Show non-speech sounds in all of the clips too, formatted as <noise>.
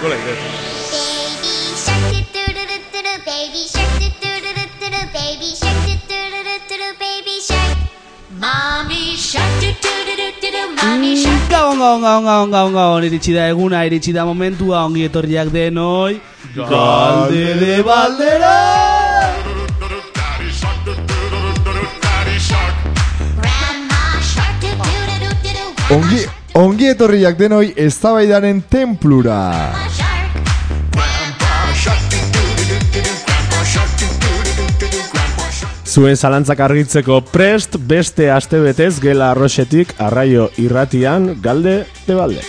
过来一个。 Baby shark doo doo doo doo doo baby shark doo doo doo doo doo baby shark doo doo doo doo doo baby shark Mommy shark doo doo doo doo doo mommy shark Gabon, gabon, gabon, gabon, gabon, gabon, iritsi da eguna, iritsi da momentua, ongi etorriak denoi, galde de baldera! Grandma shark doo doo doo doo doo Oh, Ongi, ongi etorriak denoi eztabaidaren templura. Grandma shark Zuen zalantzak argitzeko prest beste astebetez gela arroxetik arraio irratian galde debalde.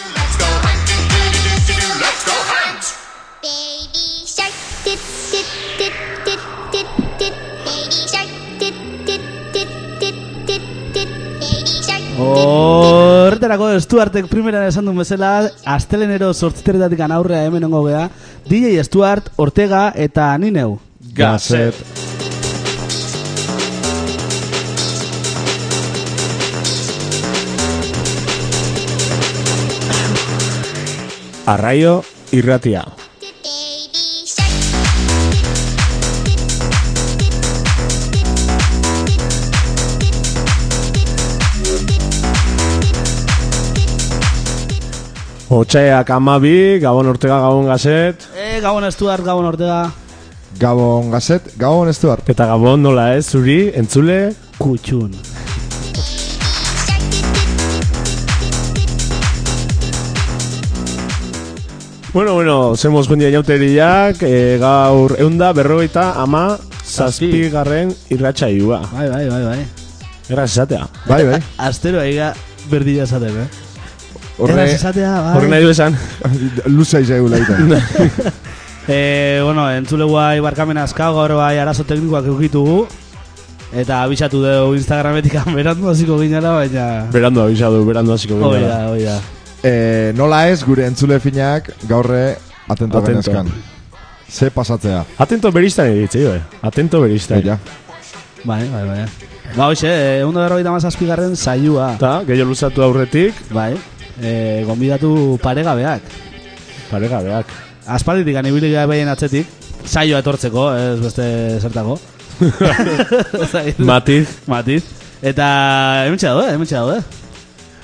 baby shark tit tit tit tit tit tit baby shark tit tit tit tit tit tit baby shark Horretarako Stuartek primeran esan duen bezala, astelenero sortziteretatik aurrea hemen ongo gea, DJ Stuart, Ortega eta ni neu. Gazet. Arraio irratia. baby shark Otxaiak amabi, Gabon Ortega, Gabon Gazet, E, gabon Stuart, gabon Ortega. Gabon gazet, gabon ez du hartu. eta Gabon nola ez, zuri, entzule, Kutxun. Bueno, bueno, zemoz gondia inauteriak, e, gaur eunda berrogeita ama zazpigarren irratxaiua. Bai, bai, bai, bai. Erraz esatea. Bai, bai. Astero aiga berdila esaten, eh? Horre, Erraz esatea, bai. Horren nahi du esan. <laughs> luza izaigu laita. E, bueno, entzule guai barkamen askau, gaur bai arazo teknikoak eukitugu. Eta abisatu dugu Instagrametik <laughs> berandu hasiko ginela, baina... Berando abisadu, berando hasiko Hoi da, gara. hoi da. e, nola ez, gure entzule finak gaurre atento Atento. genezkan. Ze pasatzea. Atento beristan egitzei, bai. Atento beristan. Ja. Bai, bai, bai. Ba, hoxe, egun da berrogeita mazazpigarren zaiua. Eta, gehiago luzatu aurretik, Bai, e, gonbidatu paregabeak. paregabeak. Aspalditik anibili gara behien atzetik, saioa etortzeko, ez beste zertako. <laughs> Zait, Matiz, Matiz. Eta hementxe daude, hementxe daude.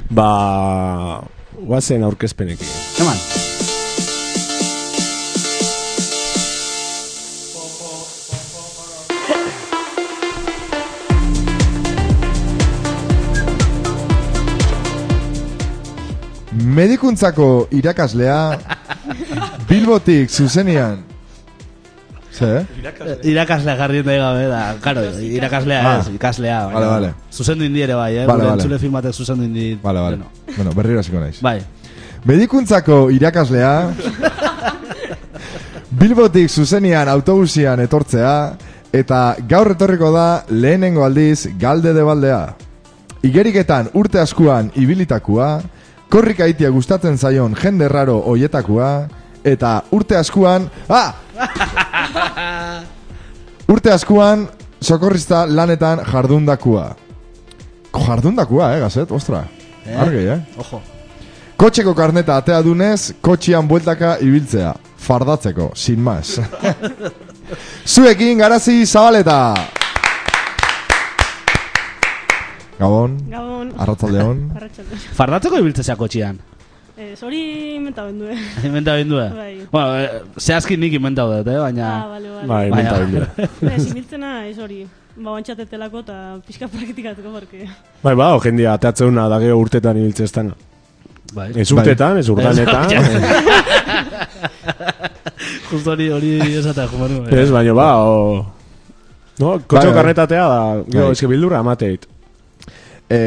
ba... Guazen aurkezpenekin. Eman. Medikuntzako irakaslea Bilbotik zuzenean. Ze? Eh, Irakaslea jarri eta gabe, da, karo, irakaslea Ah. ez, ikaslea. baina Vale, vale. Zuzendu indi ere bai, eh? Vale, Gure vale. Entzule film batek zuzendu indi. Bale, bale. Bueno, Bueno, berriro hasiko naiz. Bai, Medikuntzako irakaslea Bilbotik zuzenean autobusian etortzea eta gaur etorriko da lehenengo aldiz galde debaldea. Igeriketan urte askuan ibilitakua, korrika itia gustatzen zaion jende raro hoietakua eta urte askuan, ah! urte askuan sokorrista lanetan jardundakua. Jardundakua, eh, gazet, ostra. Eh? Argi, eh? ojo. Kotxeko karneta atea dunez, kotxian bueltaka ibiltzea. Fardatzeko, sin <laughs> mas. Zuekin garazi zabaleta! Gabon, Gabon, Ah. arratzaldeon. <laughs> arratxalde. Fardatzeko ibiltzea kotxian. <laughs> Ez hori inventa bendu, eh? Inventa bindua. Bai. Bueno, eh, zehazki nik inventau dut, eh? Baina... Ah, bale, bale. Bai, Baina- menta bila. Ez, ibiltzena ez hori. Ba, bantxatetelako eta pixka praktikatuko barke. Bai, ba, jendia, atatzeuna da gero urtetan ibiltze estana. <laughs> bai. Ez urtetan, ez urtanetan. Justo hori hori esata jumanu. Ez, baino, ba, o... No, Bai, kotxo bai. karnetatea da, gero, Bai. eske bildurra amateit. E,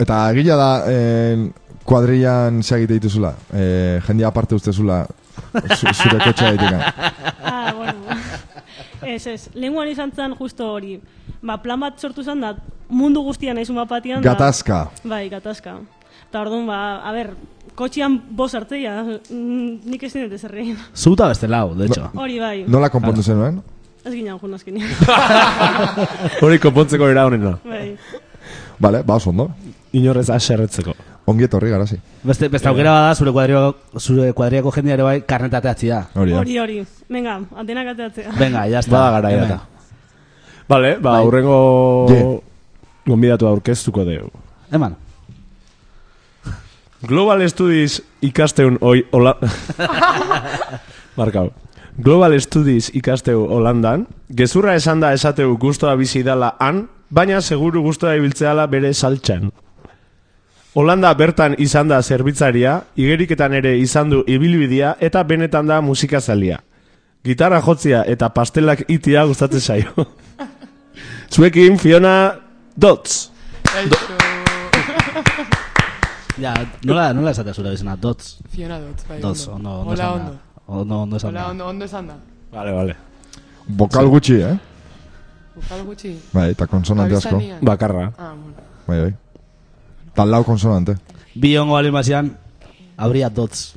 eta gila da, en, kuadrilan segite dituzula. E, jendia aparte ustezula zu- zure kotxea ditekan. Ah, bueno. Ez, ez. Lenguan izan zen justo hori. Ba, plan bat sortu zen da mundu guztian nahizu mapatian. da- Gatazka. Bai, gatazka. Eta orduan, ba, a ber, kotxian boz hartzeia, mm, nik ez dinet ez errein. Zuta beste lau, de hecho. Ba- Hori bai, Nola konpondu zenuen? ez ginean jun <laughs> azkenean. <laughs> Hori konpontzeko era honena. bai. Bale, ba oso ondo. Inorrez aserretzeko. Ongietorri garazi. Beste, beste aukera bada zure kuadriako, zure kuadriako jendea ere bai karnetateatzia. Hori eh. da. Hori, hori. Venga, antenak ateatzea. Venga, ya está. Bada garaia Hemen. da. Vale, ba, Bai. hurrengo Ye. gonbidatu aurkeztuko dugu. Eman. Global Studies ikasteun oi, hola... Barkau. Global Studies ikasteu Holandan, gezurra esan da esateu guztua bizi dala han, baina seguru guztua ibiltzeala bere saltxan. Holanda bertan izan da zerbitzaria, igeriketan ere izan du ibilbidea eta benetan da musikazalia. Gitarra jotzia eta pastelak itia gustatzen zaio. Zuekin Fiona Dots. Ja, nola, nola esatea zure bizena? Dots. Fiona Dotz, bai, Dots, ondo, ondo. ondo Hola, esan da. ondo. Ondo, ondo esan Hola, da. ondo, ondo esan da. Vale, vale. Bokal gutxi, eh? Bukal gutxi. Bai, eta konsonante asko. Abizanean. Bakarra. Ah, bueno. Bai, bai. Tal lau konsonante. Bi ongo balin bazian, abria dots.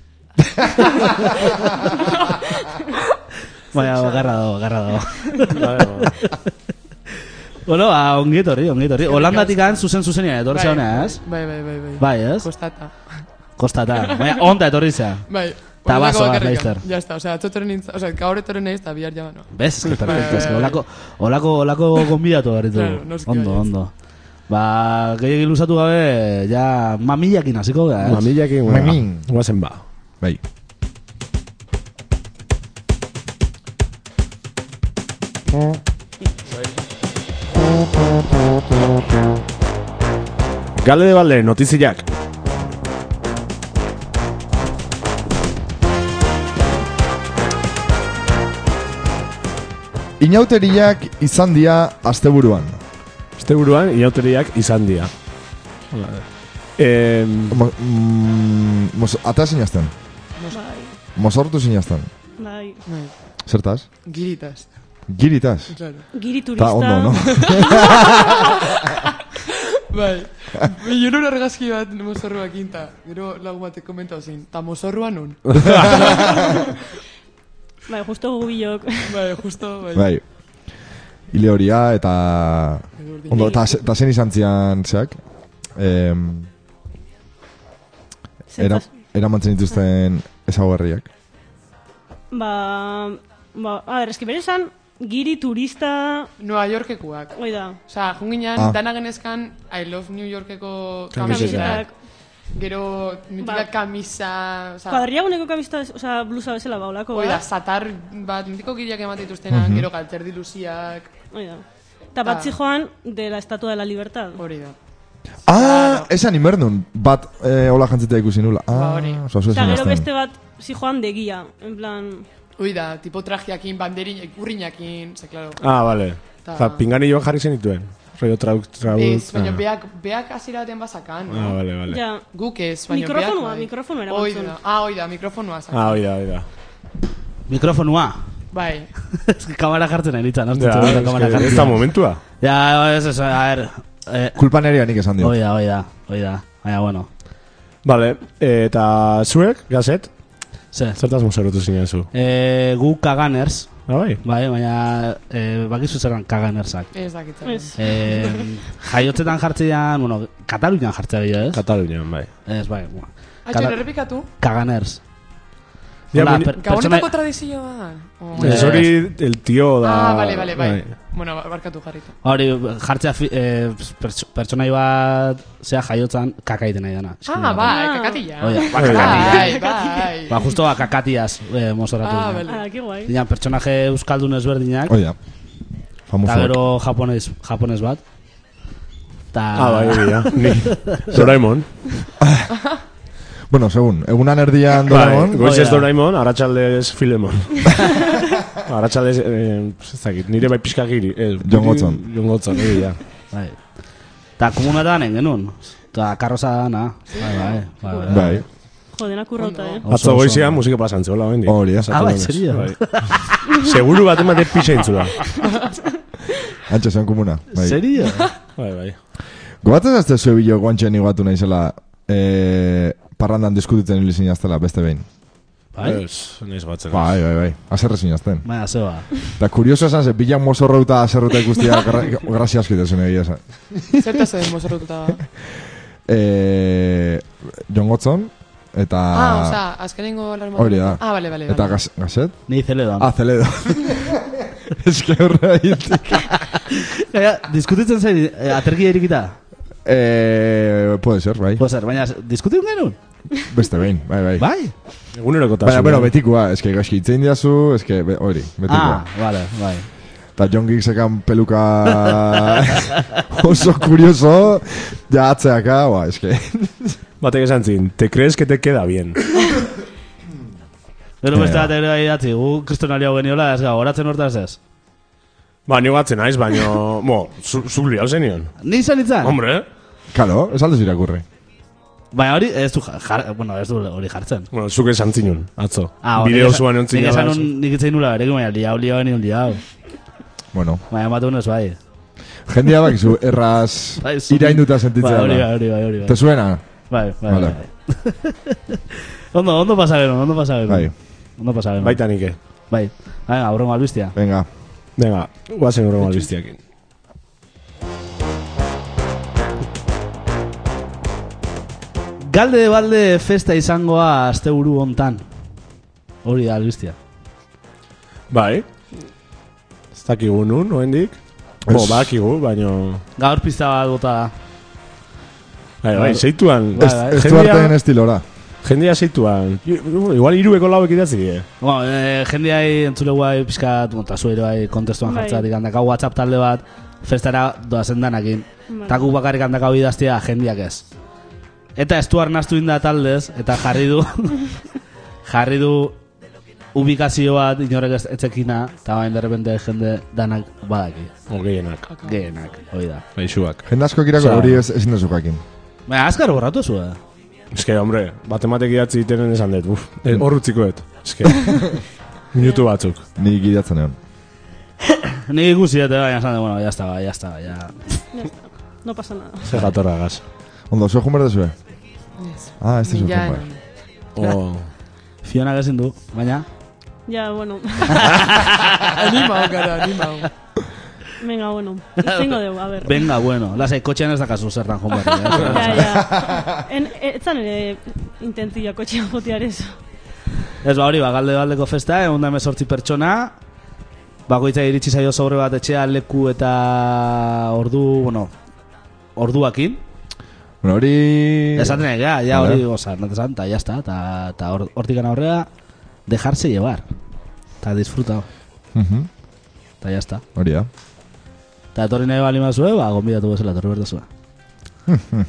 Baina, garra dago, garra dago. Bueno, ba, ongi etorri, ongi etorri. Holandatik han zuzen zuzenean etorri Bai, zauna, ez? Bai, bai, bai, bai. Bai, ez? Kostata. Kostata. Baina, onda etorri zea. Bai. Ta Horrelako bazoaz, bakarrik. laster. Ya está, o sea, atzo etorri nintz- o sea, gaur etorri naiz eta bihar ja, no. Bez, que perfecto. Bai, Es que bai, olako, olako, olako gombidatu behar ditugu. Claro, noski ondo, baietz. ondo. Ba, gehiagin luzatu gabe, ja, mamillakin hasiko gara, ez? Mamillakin, bueno. Guazen ba. Bai. Galde de balde, notiziak. Inauteriak izan dira asteburuan. Este buruan, inauteriak izan dira. Eh, Mo, mm, mos, atea sinazten. Bai, Mozortu sinazten. bai. Bai. Zertaz? Giritas, Giritaz. claro. Giri turista. Ta ondo, <laughs> no? Bai. Ilun argazki bat mozorruak inta. Gero lagun batek komentau zein. Ta mozorrua nun. Bai, justo gubilok. Bai, justo, bai. bai. Ile horia eta... Edurdi. Ondo, eta ze- eta zen izan zian, zeak? Em, era, Zentzaz- eramantzen dituzten ezaguerriak. Ba, ba, a ber, eski bere esan, giri turista, Nueva Yorkekuak. hoi da, Osa, junginan, Ah. ah. dana genezkan I Love New Yorkeko Kamisetak. kamisetak. Gero, mitika Ba. kamisa... Osa, kuadriaguneko kamista, oza, blusa bezala ba, baulako, Ba. Hoi da, da? zatar bat, mitiko giriak emate Mhm. dituztenak, gero galtzerdi luziak, Hoi da. Eta bat Ah. zijoan de la Estatua de la Libertad. hori da. Ah, esan imernun, bat eh, hola jantzitea ikusi nula. Ba, Ah, hori. oso, oso Eta esan gero azten. beste bat zijoan de guía, en plan... Hoi da, tipo trajeakin, banderin, urrinakin, ze, klaro. ah, vale. Ta- Ta... Pingani joan jarri zenituen. Rollo trauk, trauk... Ez, baina ah. beak, beak hasiera baten bazakan. Ah, vale, vale. Ja, Guk ez, baina Mikrofonoa, beak bai. mikrofonoa eraman Hoi zuen. da, ah, hoi da, mikrofonoa zan. Ah, oida, oida. Mikrofonua. <laughs> Bai, Es que kamara jartzen ari nintzen, hostia, Ja, zegoen es kamara que jartzen. ez da momentua. Ja, ez, ez, a ver. Eh, Kulpa nerea nik esan dio. hoi da, hoi da, hoi da. Baina, bueno. Vale, eh, eta zuek, gazet, Ze. zertaz muserutu zinen zu. Eh, gu kaganers, Ah, bai? bai, baina, eh, bakizu zeran kaganersak. ez dakitzen. ez. Eh, jaiotzetan jartzean, bueno, Katalunian jartzea gehiago, ez? Katalunian, bai. Ez, bai, bueno. Atxo, Kata- errepikatu? Kaganers. Ja, Hola, baina- per- pertsona- Gabonetako tradizioa. Oh, Eh, Ez hori el tio da... Ah, vale, vale, bai. Bueno, bar- barkatu jarritu. Hori, jartzea fi, eh, perts- pertsonai bat, zea jaiotzan, kakaiten nahi dena. Ah, bai, kakatila. Oida, ba, kakatila. Bai, bai. Ba, justo ba, kakatiaz eh, mozoratu. Ah, Ah, vale. Ah, que guai. Dina, pertsonaje euskaldun ezberdinak, Hoi da. Famoso. eta gero japones, japones bat. Ta, Ah, bai, <laughs> ja. Ni. Doraemon. Bueno, segun, egunan erdian Bai, Doraemon. goiz ez Oida. Doraemon, arratsaldez Filemon. arratsaldez, eh, ez dakit, nire bai pixka giri. Eh, Jon Gotzon. Jon Gotzon, hori da. bai. Ta komunetan engenun. Ta karroza dana. Bai, bai, bai. bai. Bai. Jodena kurrota, eh? Oso, Atzo oso. goizean musika pasan zegoela, hendi. Hori da. Ah, bai, serio? <laughs> Seguru bat emate pixa intzula. Antxe zen komuna. Bai. Serio? Bai, bai. Goatzen azte zue bilo guantxean igatu naizela eh, parrandan diskutitzen hili zinaztela beste behin. Bai? Ez, naiz batzen. Bai, bai, bai. Azerre zinazten. Baina, ba. zeba. Da kurioso esan ze, bila mozorro eta azerruta <laughs> ikustia gra- grazi asko itezen egia esan. Zerta zen mozorrotuta. Eh, John Watson, eta... Ah, osea, azkenengo larmatu. Hori da. Ah, bale, bale, Eta bale. gaz, gazet? Nei zeledan. Ah, <laughs> Zeledo. Ez que horre haitik. Gaia, diskutitzen zain, eh, aterki erikita. Eh, puede ser, bai. Puede ser, baina, diskutitzen genuen? Beste behin, bai, bai. Bai? Eguneroko Ba- eh. Baina, bueno, betikoa, eske gaizki itzein diazu, eske be- hori, betikoa. Ah, vale, bai. Eta John Giggsekan peluka <laughs> oso kurioso, ja atzeaka, ba, <laughs> eske. Batek esan zin, te crees que te queda bien. Gero Ja, beste ja. bat ere bai datzi, gu kriston aliau geniola, ez gau, horatzen hortaz ez. ba, ni batzen naiz, baino... Mo, zu, zu liau zenion. Ni izan itzan? Hombre, Kalo, ez aldez irakurri. Baina hori, ez du, ja- jar, bueno, ez du hori jartzen. bueno, zuk esan zinun, atzo. Ah, hori Bideo esan- zuan ontzin Nik esan un, nik itzein nula berekin, baina liau, liau, nion liau. Bueno, Baina ematu honez bai. jendia bakizu, erraz Bai, zu- irainduta Bai, hori, bai, sentitzea. ba. hori, bai, hori, Te bai. suena? Bai, bai, Vale. bai. <laughs> Ondo, ondo pasa genuen, ondo pasa genuen. Bai. Ondo pasa genuen. Baita nike. Bai. Baina, aurrengo albistia. Venga. Venga, guazen horrengo albiztiakin. Galde de balde festa izangoa asteburu hontan. Hori da albistia. Bai. Ez dakigu nun, oendik. Bo, Ez. bakigu, baino... Gaur pizta bat bota da. Bai, Bai. bai, zeituan. Bai, Bai, bai. Ez du artean estilora. Jendia zeituan. I- Igual irueko lauek idatzi die. Bueno, eh, jendeai entzule guai pixkat, monta zuero bai kontestuan Bai. jartzatik handakau WhatsApp talde bat, festara doazen danakin. Bai. Eta guk bakarrik handakau idaztia jendiak ez. Eta estuar naztu inda taldez, eta jarri <laughs> du, jarri du ubikazio bat inorek ez etzekina, eta bain derrepente jende danak badaki, O gehienak. gehienak, hoi da. Baixuak. Jende asko kirako Osea- hori ez ezin dezukakin. Baina, azkar borratu zu, eh? Ez que, hombre, batematek idatzi ditenen esan dut. Uf, eh, hor utzikoet. Ez <laughs> que, minutu batzuk. Ni gidatzen egon. Nik ikusi dut, eh, baina esan dut, bueno, jazta, bai, jazta, bai, ja. eh. No pasa nada. Zer jatorra gaz. Ondo, zuen jumber dezue? Ez. Ah, ez dezue Ni ja, jumber. no. O, Fiona gezin du, baina, Ja, bueno. <laughs> Animau gara, animau. Venga, bueno. Tengo deu, a ver. venga, bueno, lasai, kotxean ez dakazu zertan joan eh? bat. <laughs> Ja, ja. En, eh, etzan ere intentzia kotxean jotear eso. Ez ba hori, ba, galde galdeko festa, egun da sortzi pertsona, bakoitza iritsi zaio sobre bat etxea leku eta ordu, bueno, orduakin. Bueno, hori... Esaten nahi, ja, ja hori, Vale. oza, nate santa, ya está, ta, ta hor- hortikan aurrera, dejarse llevar, ta disfruta, Mhm, ta ya está. Hori da. Ta etorri nahi bali mazue, ba, gombidatu bezala, etorri berdazua.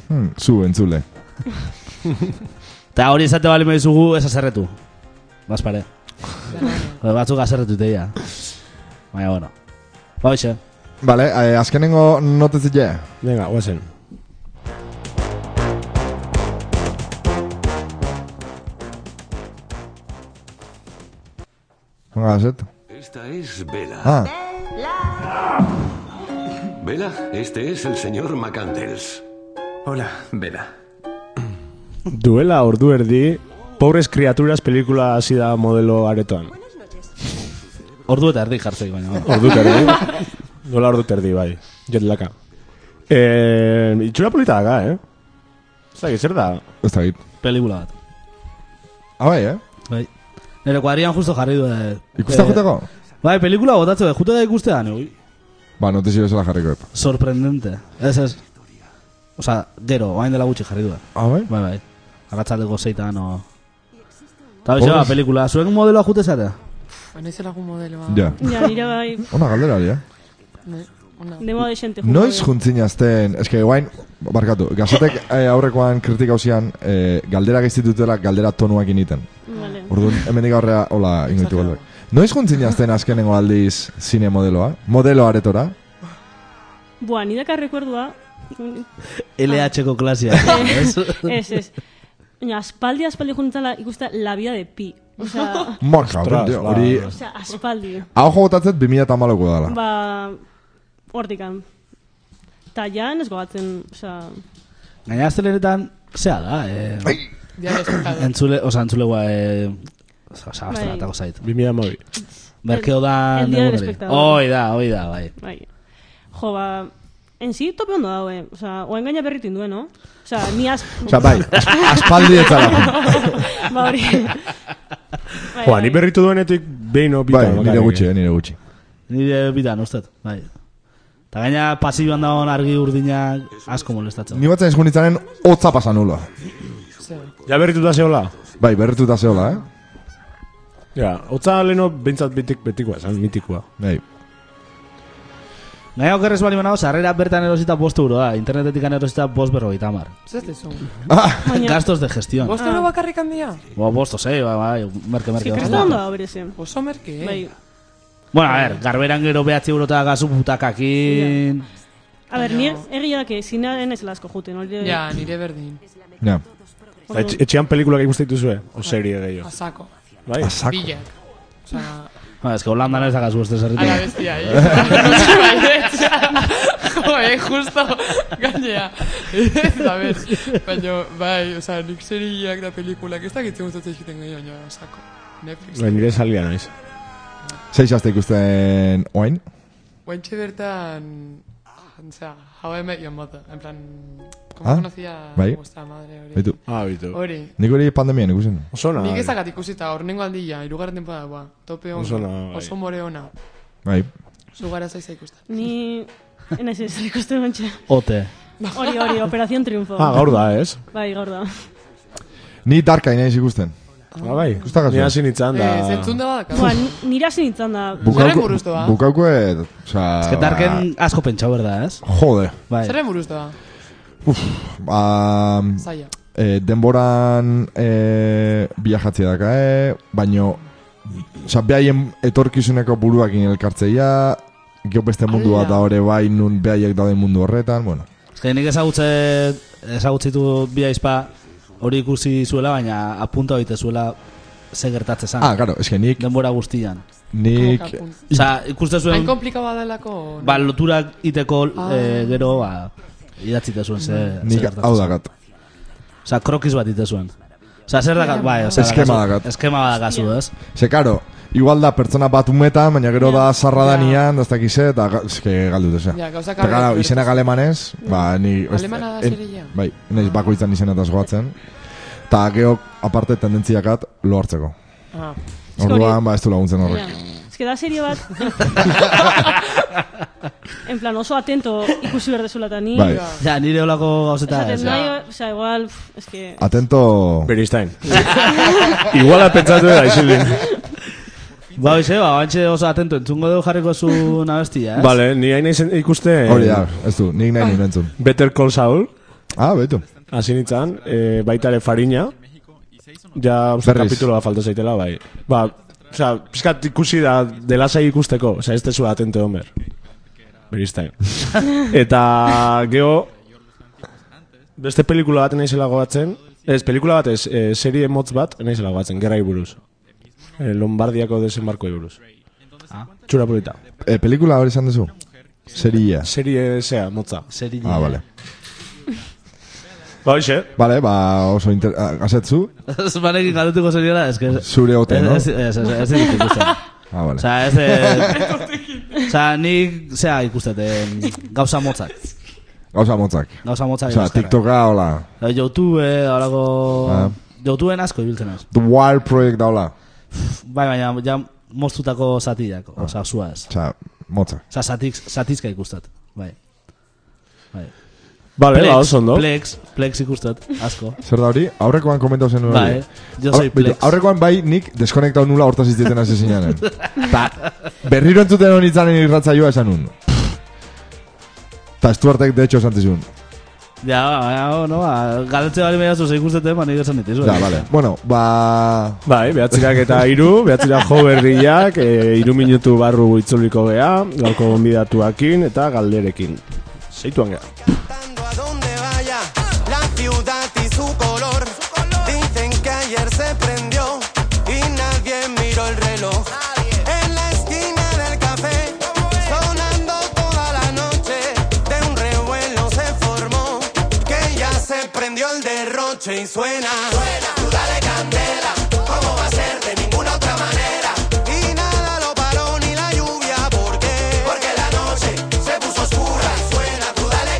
Hmm, Zu entzule. Ta hori esate bali maizugu, ez azerretu. Bas pare. Ba, Batzuk azerretu teia. Baina, bueno. Ba, hoxe. Vale, eh, azkenengo notezitea. venga, guazen. Venga, gazet. Esta es Vela. Ah, Vela, este es el señor McCandles. Hola, Vela. Duela ordu erdi, Pobres Criaturas pelikula hasi da modelo aretoan. Ordu eta erdi jartzeik, baina, bueno. Ordu terdi. <laughs> Duela ordu terdi, bai. Jetlaka. Eh, itxura polita daka, eh? Ez dakit, zer da? ez da git. Pelikula bat. Ah, bai, eh? Bai. Nire kuadrian justo jarri du. eh, Ikusta eh, juteko? Bai, pelikula botatze dut, jute da ikustea, ne, ui. Ba, notizio bezala jarriko dut. Sorprendente. Ez ez. Osa, gero, bain dela gutxi jarri du. eh. Ah, bai? Bai, bai. Arratzaldeko zeitan, o... Eta bixe, ba, pelikula. Zuen modeloa jute zatea? Ba, naiz lagun modeloa. Ja. Ja, nire bai, Ona galdera hori, eh? Ne, ona. demo de xente jugo. Noiz juntzinazten, eske guain, barkatu, gazetek eh, aurrekoan kritika hausian, eh, galdera gaiztitutela galdera tonuak initen. Vale. Orduan, hemendik aurrea, hola, ingoitu galdek. Noiz juntzinazten azkenengo aldiz zine modeloa? Modelo aretora? Buah, ni daka rekordua. LH-ko klasia. ez? <laughs> Ez, ez. Baina, aspaldi, aspaldi juntzala ikusta la vida de pi. Osa, Morka, Ostras, tio, ba. hori... osa, aspaldi. Hau jogotatzet 2008ko dala. Ba, hortikan. Ta jan, ez gogatzen, osa... Gaina aztelenetan, zea da, eh... Ja, despejado. Entzule, osa, entzule gua, eh... Osa, Bai. aztelatako zait. 2008. Berkeo da... El día del negunari. espectador. Hoi da, hoi da, bai. Bai. Jo, ba, en sí tope ondo eh. daue. Osa, oen gaina berritu induen, no? Osa, ni az... Osa, bai, as- aspaldi ez <laughs> zara. <laughs> ba, hori. <laughs> Bai, Joa, ni bai. berritu duenetik behin opita. Bai, nire gutxi, eh, nire gutxi. Nire bitan, ustet, bai. Eta gaina pasioan dagoen argi urdinak asko molestatzen. Ni batzen eskunitzaren hotza pasan uloa. eh. Ja berritu da zehola? Bai, berretuta zeola, eh? Ja, hotza leheno bintzat betik betikoa, esan mitikoa. Bai. Gaina okerrez bali manao, sarrera bertan erosita bost euro da, internetetik erosita bost berrogeita hamar. Zer dezu? Ah! Baina, Gastos de gestión. Bost, Bostero bakarrik handia? bost, zei, bai, bai, merke, merke. Ez que bost. Kristo ondo da, bereze. Oso merke, eh? Bai. Bueno, a ver, garberan gero behatzi eurota gazu putakakin. A ber, ni egia da, que zinaren ez lasko juten, hori... Ja, nire berdin. Ja. Eta etx- etxean pelikulak ikusten dituzue, o serie gehiago. Asako. Bai, Asako. Bilak. Osa, Ba, ez que holandan ez dakazu beste a la zerritan. bestia, eh? <laughs> Baietz. Jo, eh, justo, gainea. Ez, a ber, baina, bai, osa, nik seriak da pelikulak, ez dakitzen gustatzen egiten gai, baina, asako. Netflix. Bai, nire salia naiz. Seiz aste ikusten oain. Guantxe bertan, osa, How I Met Your Mother, en plan, ¿cómo Ah, conocía bai. vuestra madre hori? Baitu. Ah, bitu. Hori, Nik hori pandemian ikusen. Osona. eh? Nik ezagat ikusita, horrengo aldia, irugarren temporada, ba. Tope on, Oso ona, bai. oso more ona. Bai. Zu gara zaiza ikusten. Ni... Enez ez, ikusten bantxe. Ote. Hori, hori, Operación Triunfo. Ah, gaur da, ez? Bai, gaur da. Ni darka inaiz ikusten. Ah, bai. Gustagazu. Ni hasi nintzen da. Eh, zentzun da badaka. Ba, Bai. ni- nire hasi nintzen da. Zerren buruz doa? bukauko edo, oza... Ez que darken asko pentsau berda, ez? Jode. Bai. Zerren buruz doa, Ba, zaila. eh, denboran eh, viajatzea daka, eh? Baino, oza, behaien etorkizuneko buruakin elkartzeia, geho beste mundu bat Ala. da hori bai, nun behaiek dauden mundu horretan, bueno. Ez que nik ezagutzen, ezagutzitu bi aizpa hori ikusi zuela, baina apunta egite zuela ze gertatzen zan. Ah, claro, eske nik, denbora guztian. nik, Como kapun. Osa, ikusten Hain zuen, komplikaba delako... ba, loturak iteko Ah. eh, gero, ba, idatzite zuen ze, ze nik gertatzen hau zan. dakat. Osa, krokiz bat ite zuen. Osa, zer dakat, bai, osa, Eskema dakazu- dakat. Eskema dakazu, ez? Ze, karo, igual da pertsona bat umetan, baina gero da sarra danian, da ez dakize, eta ga- eske galdu duzea. Ja, gauzak Eta gara, aurrera- izenak alemanez, ba, ni... ez- Alemana da en- zeregina. Bai, naiz bakoitzan izenetaz goatzen. Eta geok, aparte, tendentziakat lo hartzeko. Ah, hori- Orduan, ba, ez du laguntzen Ja. horrek. Ez que da serie bat... en plan, oso atento ikusi behar dezula eta ni... Bai. Ja, nire olako gauzeta, ez? Esaten nahi, o sea, igual, pff, es que... Atento... Beristain. <laughs> Iguala pentsatu da, isilin. Ba, oize, ba, bantxe oso atento, entzungo dugu jarriko zu nabestia, ez? Vale, ni hain naizen ikusten... Hori da, ez du, nik nahi nuen entzun. Better Call Saul. Ah, betu. Hasi nintzen, eh, baita ere farina. Ja, uste Berriz. kapituloa falta zaitela, bai. Ba, osea, pizkat ikusi da dela zai ikusteko. Osea, ez tezu atente homer. Beristain. Eta, geho, beste pelikula bat naizela goatzen, ez, pelikula bat ez, eh, serie motz bat naizela goatzen, gerrai buruz. Eh, Lombardiako desembarkoi buruz. Txura polita. E, pelikula hori izan duzu? Seria. Serie zea, motza. Zeri- Ah, vale. Ba, hoxe. Vale, ba, oso inter... ah, Asetzu, Ez barekin galdutuko zeriola, ez que... zure ote, no? Ez, ez, ez, ez, ez, ez, ikusten. Ah, vale. Osa, ez de... <laughs> Osa, nik, zea ikustete, gauza motzak. Gauza motzak. Gauza motzak. Osa, ikustera. TikToka, hola. Eh, Youtube, horako... Ah. Youtubeen asko ibiltzen ez. The Wild Project da, hola. Bai, baina, ja, moztutako zatiak, Ah. osa, zua ez. Osa, motzak. Osa, zatik, zatizka ikustat, bai. Bai. Vale, ba, oso ondo. Plex, Plex ikustat, asko. Zer da hori? Aurrekoan komentau zen hori. Bai, yo soy Aur- beitu, Plex. aurrekoan bai nik deskonektau nula hortaz izteten hasi <laughs> zinanen. Ta, berriro entzuten hori itzanen irratzaioa esan nun. Ta estuartek de hecho esan zizun. Ja, ba, baina, o, no, ba, galdetze bali mehiazu ze ikustete, ba, nik esan ditizu. Da, vale. Bueno, ba... Bai, behatzirak eta iru, behatzirak jo berriak, e, iru minutu barru itzuliko gea, gaurko gonbidatuakin eta galderekin. Zeituan gea. Cantando a donde vaya, la ciudad y su color. Dicen que ayer se prendió y nadie miró el reloj. En la esquina del café, sonando toda la noche, de un revuelo se formó, que ya se prendió el derroche y suena. Suena, tú dale candela, ¿cómo va a ser de ninguna otra manera? Y nada lo paró ni la lluvia, ¿por qué? Porque la noche se puso oscura, suena, tú dale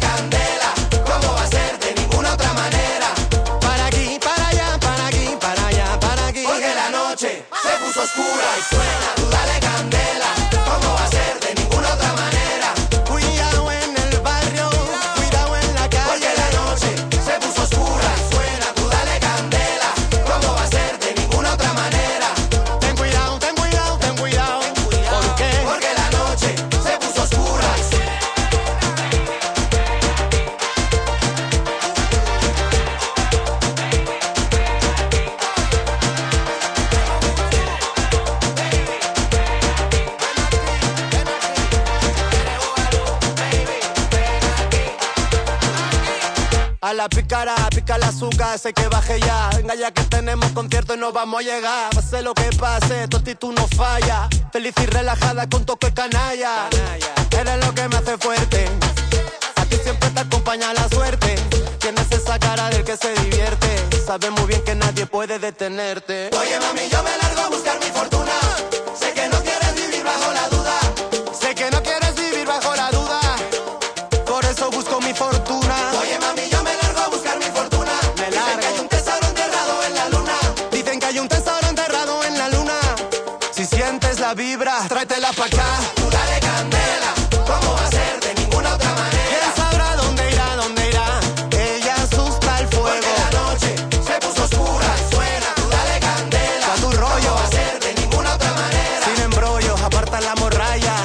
A la pícara, pica el azúcar, sé que baje ya. Venga ya que tenemos concierto y no vamos a llegar. Pase lo que pase, tu actitud no falla. Feliz y relajada con toque canalla. Eres lo que me hace fuerte. A ti siempre te acompaña la suerte. Tienes esa cara del que se divierte. Sabes muy bien que nadie puede detenerte. Oye, mami, yo me largo a buscar mi fortuna. Sé que no quieres vivir bajo la duda. Sé que no quieres vivir bajo la duda. Por eso busco mi fortuna. Oye, mami, yo me largo a buscar mi fortuna. Me largo. Dicen que hay un tesoro enterrado en la luna. Dicen que hay un tesoro enterrado en la luna. Si sientes la vibra, tráetela pa' acá. Tú dale candela, ¿cómo va a ser? De ninguna otra manera. Ella sabrá dónde irá, dónde irá. Ella asusta el fuego. Porque la noche se puso oscura y suena. Tú dale candela, pa' tu rollo. va a ser? De ninguna otra manera. Sin embrollos, aparta la morralla.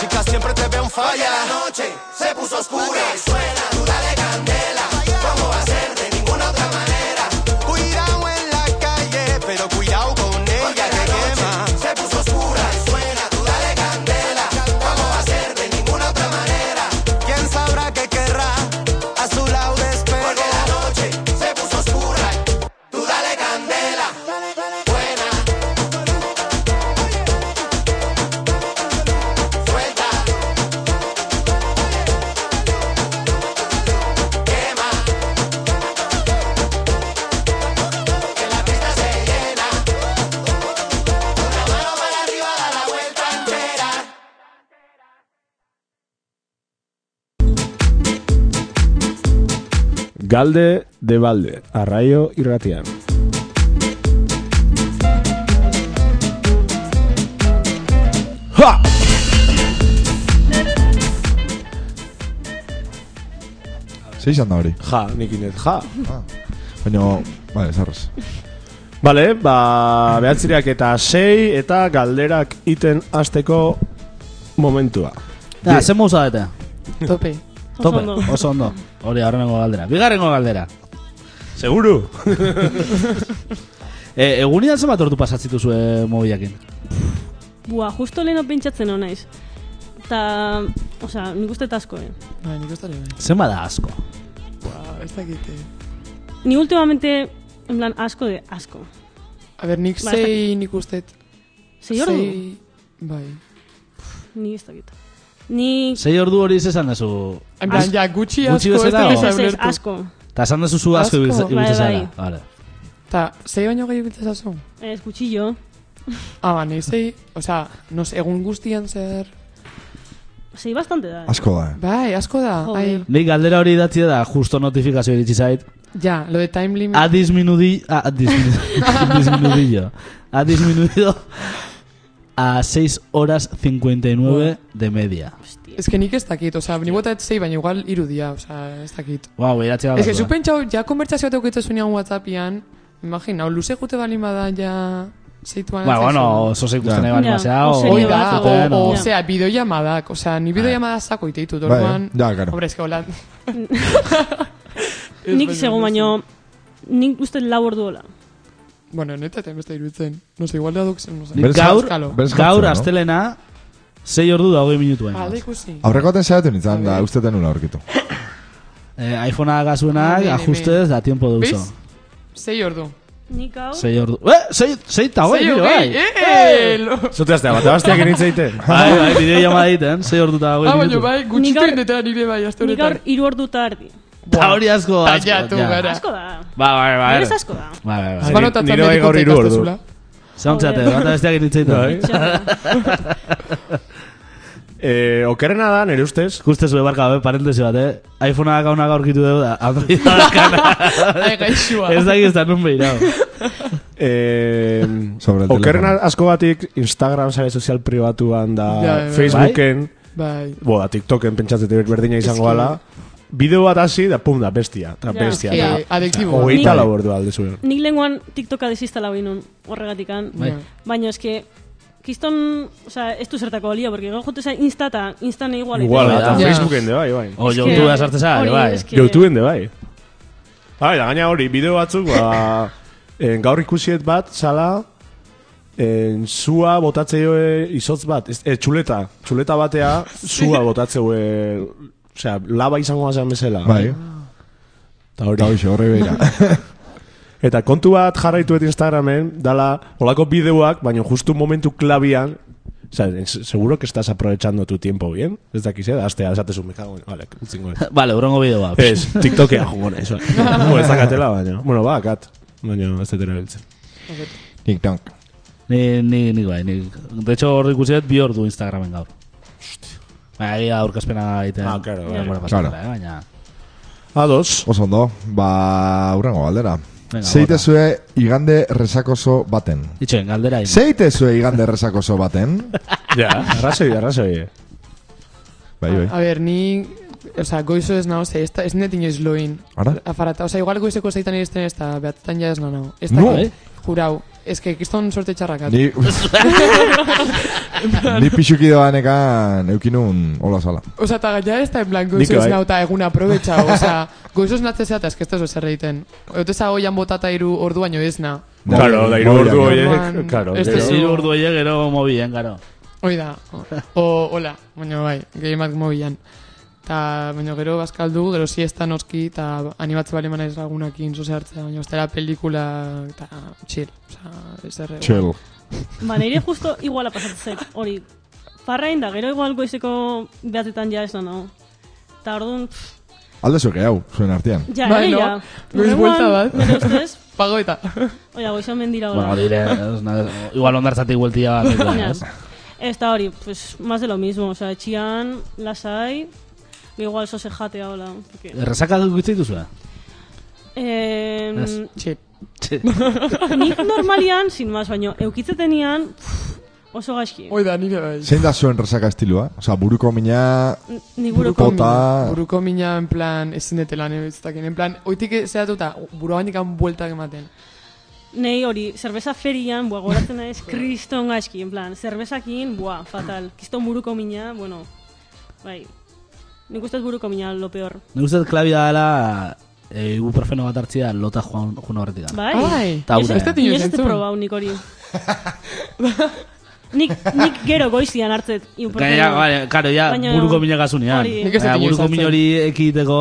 Chicas, siempre te veo en falla. la noche se puso oscura y suena. Tú dale candela, ¿cómo va a ser? De ninguna otra manera. Cuidado en la calle, pero cuidado con ella que quema. Se puso oscura y suena, tú dale candela. ¿Cómo va a ser de ninguna otra manera? ¿Quién sabrá que querrá a su lado despego? Porque la noche se puso oscura, tú dale candela. Buena, suelta, quema. Que la pista se llena. Una mano para arriba da la vuelta entera. Galde de balde, arraio irratian. Ha! Ze izan da hori? Ja, nik inez, ja. Baina, vale, zarraz. Bale, ba, behatziriak eta sei eta galderak iten asteko momentua. Ja, zen mauza dute. Bai. Tope. Tope, ondo. oso ondo. Hori, aurrenengo galdera. Bigarrengo galdera. Seguru! E, egunidan zenbat ordu eh, pasatzituzue mobilakin? Bua, justo leheno pentsatzen hona naiz. Ta, osea, nik uste asko, eh. Bai, Ba, nik uste nire. Zenbat da asko? Ba, ez dakite. Ni últimamente, en plan, asko de asko. A ber, nik Ba, zein ikustet. Sei ordu? Sei- Bai. Ni ez dakit. Ni... Sei ordu hori ez esan dezu... En plan, Asko. ja, gutxi asko Gutxi ez bezala, o? Ez, da gizan ez, ez, bertu. asko. Ta esan dezu zu asko Asko, ibiltze- bai, ibiltze zara. bai. Vale. Ta, zei baino gehi biltzen zazu? Ez, gutxillo. Ah, ba, nahi zei, osea, nos, egun guztian zer... Zei bastante da. eh. Asko da, eh? Bai, asko da. Joder. Ai, Nik galdera hori idatzi da, justo notifikazio iritsi zait. ja, lo de time limit. Ha disminudi... ah, Ha <laughs> disminudi- <laughs> disminudillo. Ha disminuido a 6 horas 59 de media. Hostia. Ez que nik ez dakit, osea, ni botat zei, baina igual irudia, osea, ez dakit. Wow, iratzi Ez que gabe. zupentsau, ja konbertsazioa teukitza zunean Whatsappian, imagina, hau luze jute balin bada, ja, zeituan Ba, bueno, zaizu. oso ikusten Ja. nahi bali Ja, mazea, oso Hoi serio da, bat, o, zuten, o, o- Ja. osea, bideollamadak, osea, ni bideollamadak zako iteitu, Bai, orduan... ja, claro. Hombre, ez que holan... <laughs> Nik segun baino... Nik uste lau ordu hola. Bueno, neta, eta beste iruditzen. No sé, igual da duk zen, no sé. Nik Berez- gaur, Euskalo. berez gaur, jartzen, no? astelena, 6 ordu da hogei minutuen. Alde ikusi. Aurreko aten saiatu nintzen, da Bai. uste tenula aurkitu. Eh, iPhonea gazuenak, Ni, ni, ni. ajustez, da tiempo de uso. Biz? Sei ordu. Nik hau... Sei ordu. Eh, sei, sei eta hogei, Sei biro, hogei, bai. eh, eh, lo- Zuteaztea, bat abasteak <laughs> enitzeite. Bai, bai, bideo llamada egiten, sei ordu eta hogei Ah, baina minutu. bai, Nik gutxitu gaur- indetara nire bai, azte Nik gaur honetan. iru ordu tardi. Ta hori asko, Ta asko. ja, tu, ja. gara. Asko da. Ba, bai, bai. Berez asko da. Ba, bai, bai. Bai. Banotatzen Nire bai medikuntza gaur hiru ordu. ikastezula. Zauntzate, Joder. bat besteak Bai. iritzeiten. Txarra. Eh, okerrena da, nere ustez, Juste zue barka, be, parentesi bat, eh? iPhonea gauna gaurkitu dugu da, Androida Bai, Ai, gaixua. Ez dakit ez da nun <laughs> behirau. eh, Sobre el okerrena teléfono. asko batik Instagram sare sozial pribatuan da Ja, ja, ja. Facebooken, Bai. bo, da TikToken pentsatzete berdina izango Eski. ala, bideo bat hasi da pum da bestia, da Ja. bestia. Eh, da. adiktiboa. Hogeita Nik- lau ordu alde zuen. Nik lenguan TikToka desistala hori nun, horregatikan. Bai. Baina eske, kiston, o sea, ez du zertako balio, porque gero jute zain insta eta instan igual. Iguala, eta Ja. Facebooken de bai, bai. O, YouTubea sartze zaga, bai. Youtubeen de bai. Bai, da gaina hori, bideo batzuk, <laughs> ba, en, gaur ikusiet bat, zala, en, zua botatzeioe izotz bat, ez, eh, txuleta, txuleta batea, zua botatzeioe, osea, laba izango bazen bezala. Bai. Bai. Eta hori. Eta hoxe, horre behira. <laughs> Eta kontu bat jarraitu et Instagramen, dala, olako bideoak, baina justu momentu klabian, o sea, es- seguro que estás aprovechando tu tiempo bien. Ez dakiz, eh? Astea, esatezu, me cago en... Vale, utzingo dut. Vale, urrongo bideo bat. <laughs> Ez, TikTokea jugo nahi, zuen. Bo, ez dakatela, baina. Bueno, ba, kat. Baina, ez dut erabiltzen. Nik tank. Ni, ni, ni bai, ni. De hecho, hor ikusi dut bi ordu Instagramen gaur. Baina, egia aurkezpena egiten. Ah, claro, bai. denbora pasatela, Claro. eh, Baina, Ados. Oso ondo, ba, urrengo galdera. Venga, Zeitezue igande resakoso baten. ditxoen, galdera egin. Zeitezue igande resakoso baten. Ja, arrazoi, arrazoi. eh. Bai, A bai. ber, ni... Osa, goizo ez nao, ze, ez, da- ez net inoiz loin. Ara? Afarata, osa, igual goizeko zeitan iristen ez da, behatetan ja ez nao nao. Ez No. dakit, Jurau, ez que kiston sorte txarrakat. Ni, ni pixuki doanekan eukinun hola sala. Osa, eta ja ez da, en plan, Nik goizo ez bai. nao, eta egun aprobetxa, osa, goizo ez natzea zeata, ez que ez da zer egiten. Ote zago jan botata iru ordu baino ez na. Claro, da hiru Mobilean. ordu horiek. Orduan, Claro, ez gero. duzu- Hiru ordu horiek gero mobilen, garo. Hoi <laughs> da, o, o- hola, baina bai, gehimak mobilan. Ta, baina gero bazkaldu, gero siesta noski, eta animatze bale manaiz lagunakin zoze hartzea, baina ostera pelikula, eta chill, oza, ez erre. Chill. Ba, nire justo iguala pasatu zait, hori. Parra inda, gero igual goizeko behatetan ja ez da nao. Eta orduan, pff, Aldezuke eh, hau, zuen artean. ja, Bai, ere, no? ja. Goiz Orduan, buelta bat. Nire ustez, Pago <laughs> eta. oia, goizan mendira Bueno, hori. hori ere, ez na- igual ondartzatik gueltia bat. Baina, dela, ez? ez da hori, pues, más de lo mismo, oza, etxian, lasai, igual soze jatea, hola. porque- Erresakak gutxi dituzue? Ez. Em, Chill. nik normalian, sin más, baino, eukitzetenian, pff, oso gaizki. Hoi da, nire bai. Zein da zuen resaka estilua? Osa, buruko mina... N- Nik buruko, Buruko- Bota. Buruko mina, en plan, ezin detelan, ez dakin. En plan, oitik zehatuta, buruan dikan bueltak ematen. nei hori, zerbeza ferian, bua, goratzen naiz, kriston gaizki, en plan, zerbezakin, bua, fatal, kriston buruko mina, bueno, bai, nik ustez buruko mina, lo peor. Nik uste dut klabia dela e, ibuprofeno bat hartzia lota joan, joan horretik. Bai, Ai, Ta Ez- hura. ez dut Ni inoiz ez dut entzun. probau nik <laughs> hori. nik, nik gero goizian hartzet ibuprofeno. Gaina, bai, karo, ja, Baina- buruko mina gazunean. Hori. Nik ez dut Baina, inoiz buruko hartzen. mina hori ekiteko...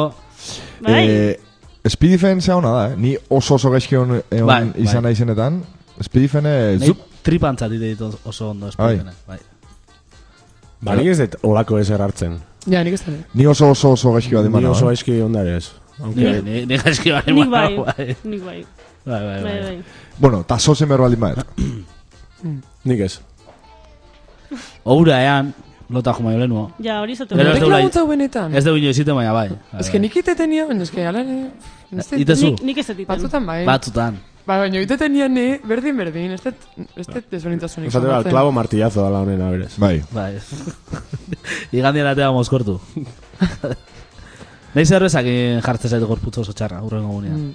Bai, Eh, Speedifen zea hona da, eh? Ni oso oso gaizki hon egon Bai, bai. izan naizenetan. Speedifen, eh, Nei zup. tripantzat ite ditut oso ondo Bai. espetena. Bai. Ba, nik ez dut olako ezer hartzen. Ja, nik ez dut. Ni oso oso oso gaizki bat Ni emana. oso eh? aizki ondare ez. Ni, Aunque- ni, ni gaizki bai. nik bai, Bai, nik bai, bai, bai. bai, bai. Bueno, ta sozen berbaldin baet. Nik ez. Oura ean, lota jo maio lehenua. Ja, hori izatu. Gero ez Nik dut lai- laguntza benetan. Ez dugu inoiz ite, baina bai. Bai, Ez que bai. nik iteten nio, baina ez que ala... eh, ez dut- Itezu, Nik, nik ez dut iten. Batzutan bai. batzutan. Ba, baina iteten nian ni, berdin, berdin, ez dut, ez dut desberdintasunik. Esatera, somatzen. el clavo martillazo da la honena, berez. Bai. Bai. <laughs> Igandian atea mozkortu. Nahi zerbezak eh, jartzen zaitu gorputz oso txarra, urrengo gunean. Mm.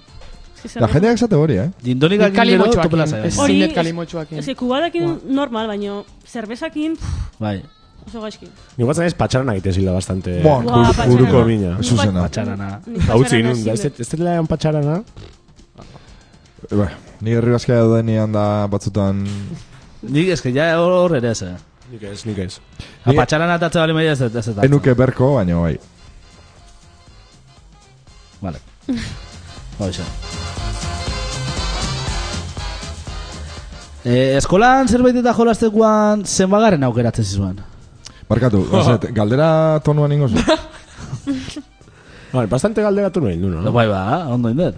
Ez que zer- Da jendeak esate hori, eh? Dindonikak gero topela Kalimotxoakin, zaitu. ez Hori- zinet kalimotxoakin. Ez que kubadakin normal, baino zerbezakin pff, Bai. oso gaizki. Ni guatzen ez patxaran egite zila bastante. Buah, Buah, buru- patxarana. buruko mina. Nik Zuzena. bat- Txarana. nik Hau utzi patxarana inun, da, ezin ez dut. dut- ez dut lan patxarana? Eh, Ba, ni herri bazkia daudenean da batzutan... Nik eske ja hor hor ere ez. eh. Nik ez, nik ez. Ni- Apatxaran atatzea bali maia ez ez ez. Enuke berko, baina bai. Vale. Hoxe. Eh, eskolan zerbait eta jolastekuan zenbagarren aukeratzen zizuen. <laughs> Barkatu, ozet, galdera tonuan ingo zu. Vale, bastante galderatu nuen, du, No, no? bai, ba, ondo indet.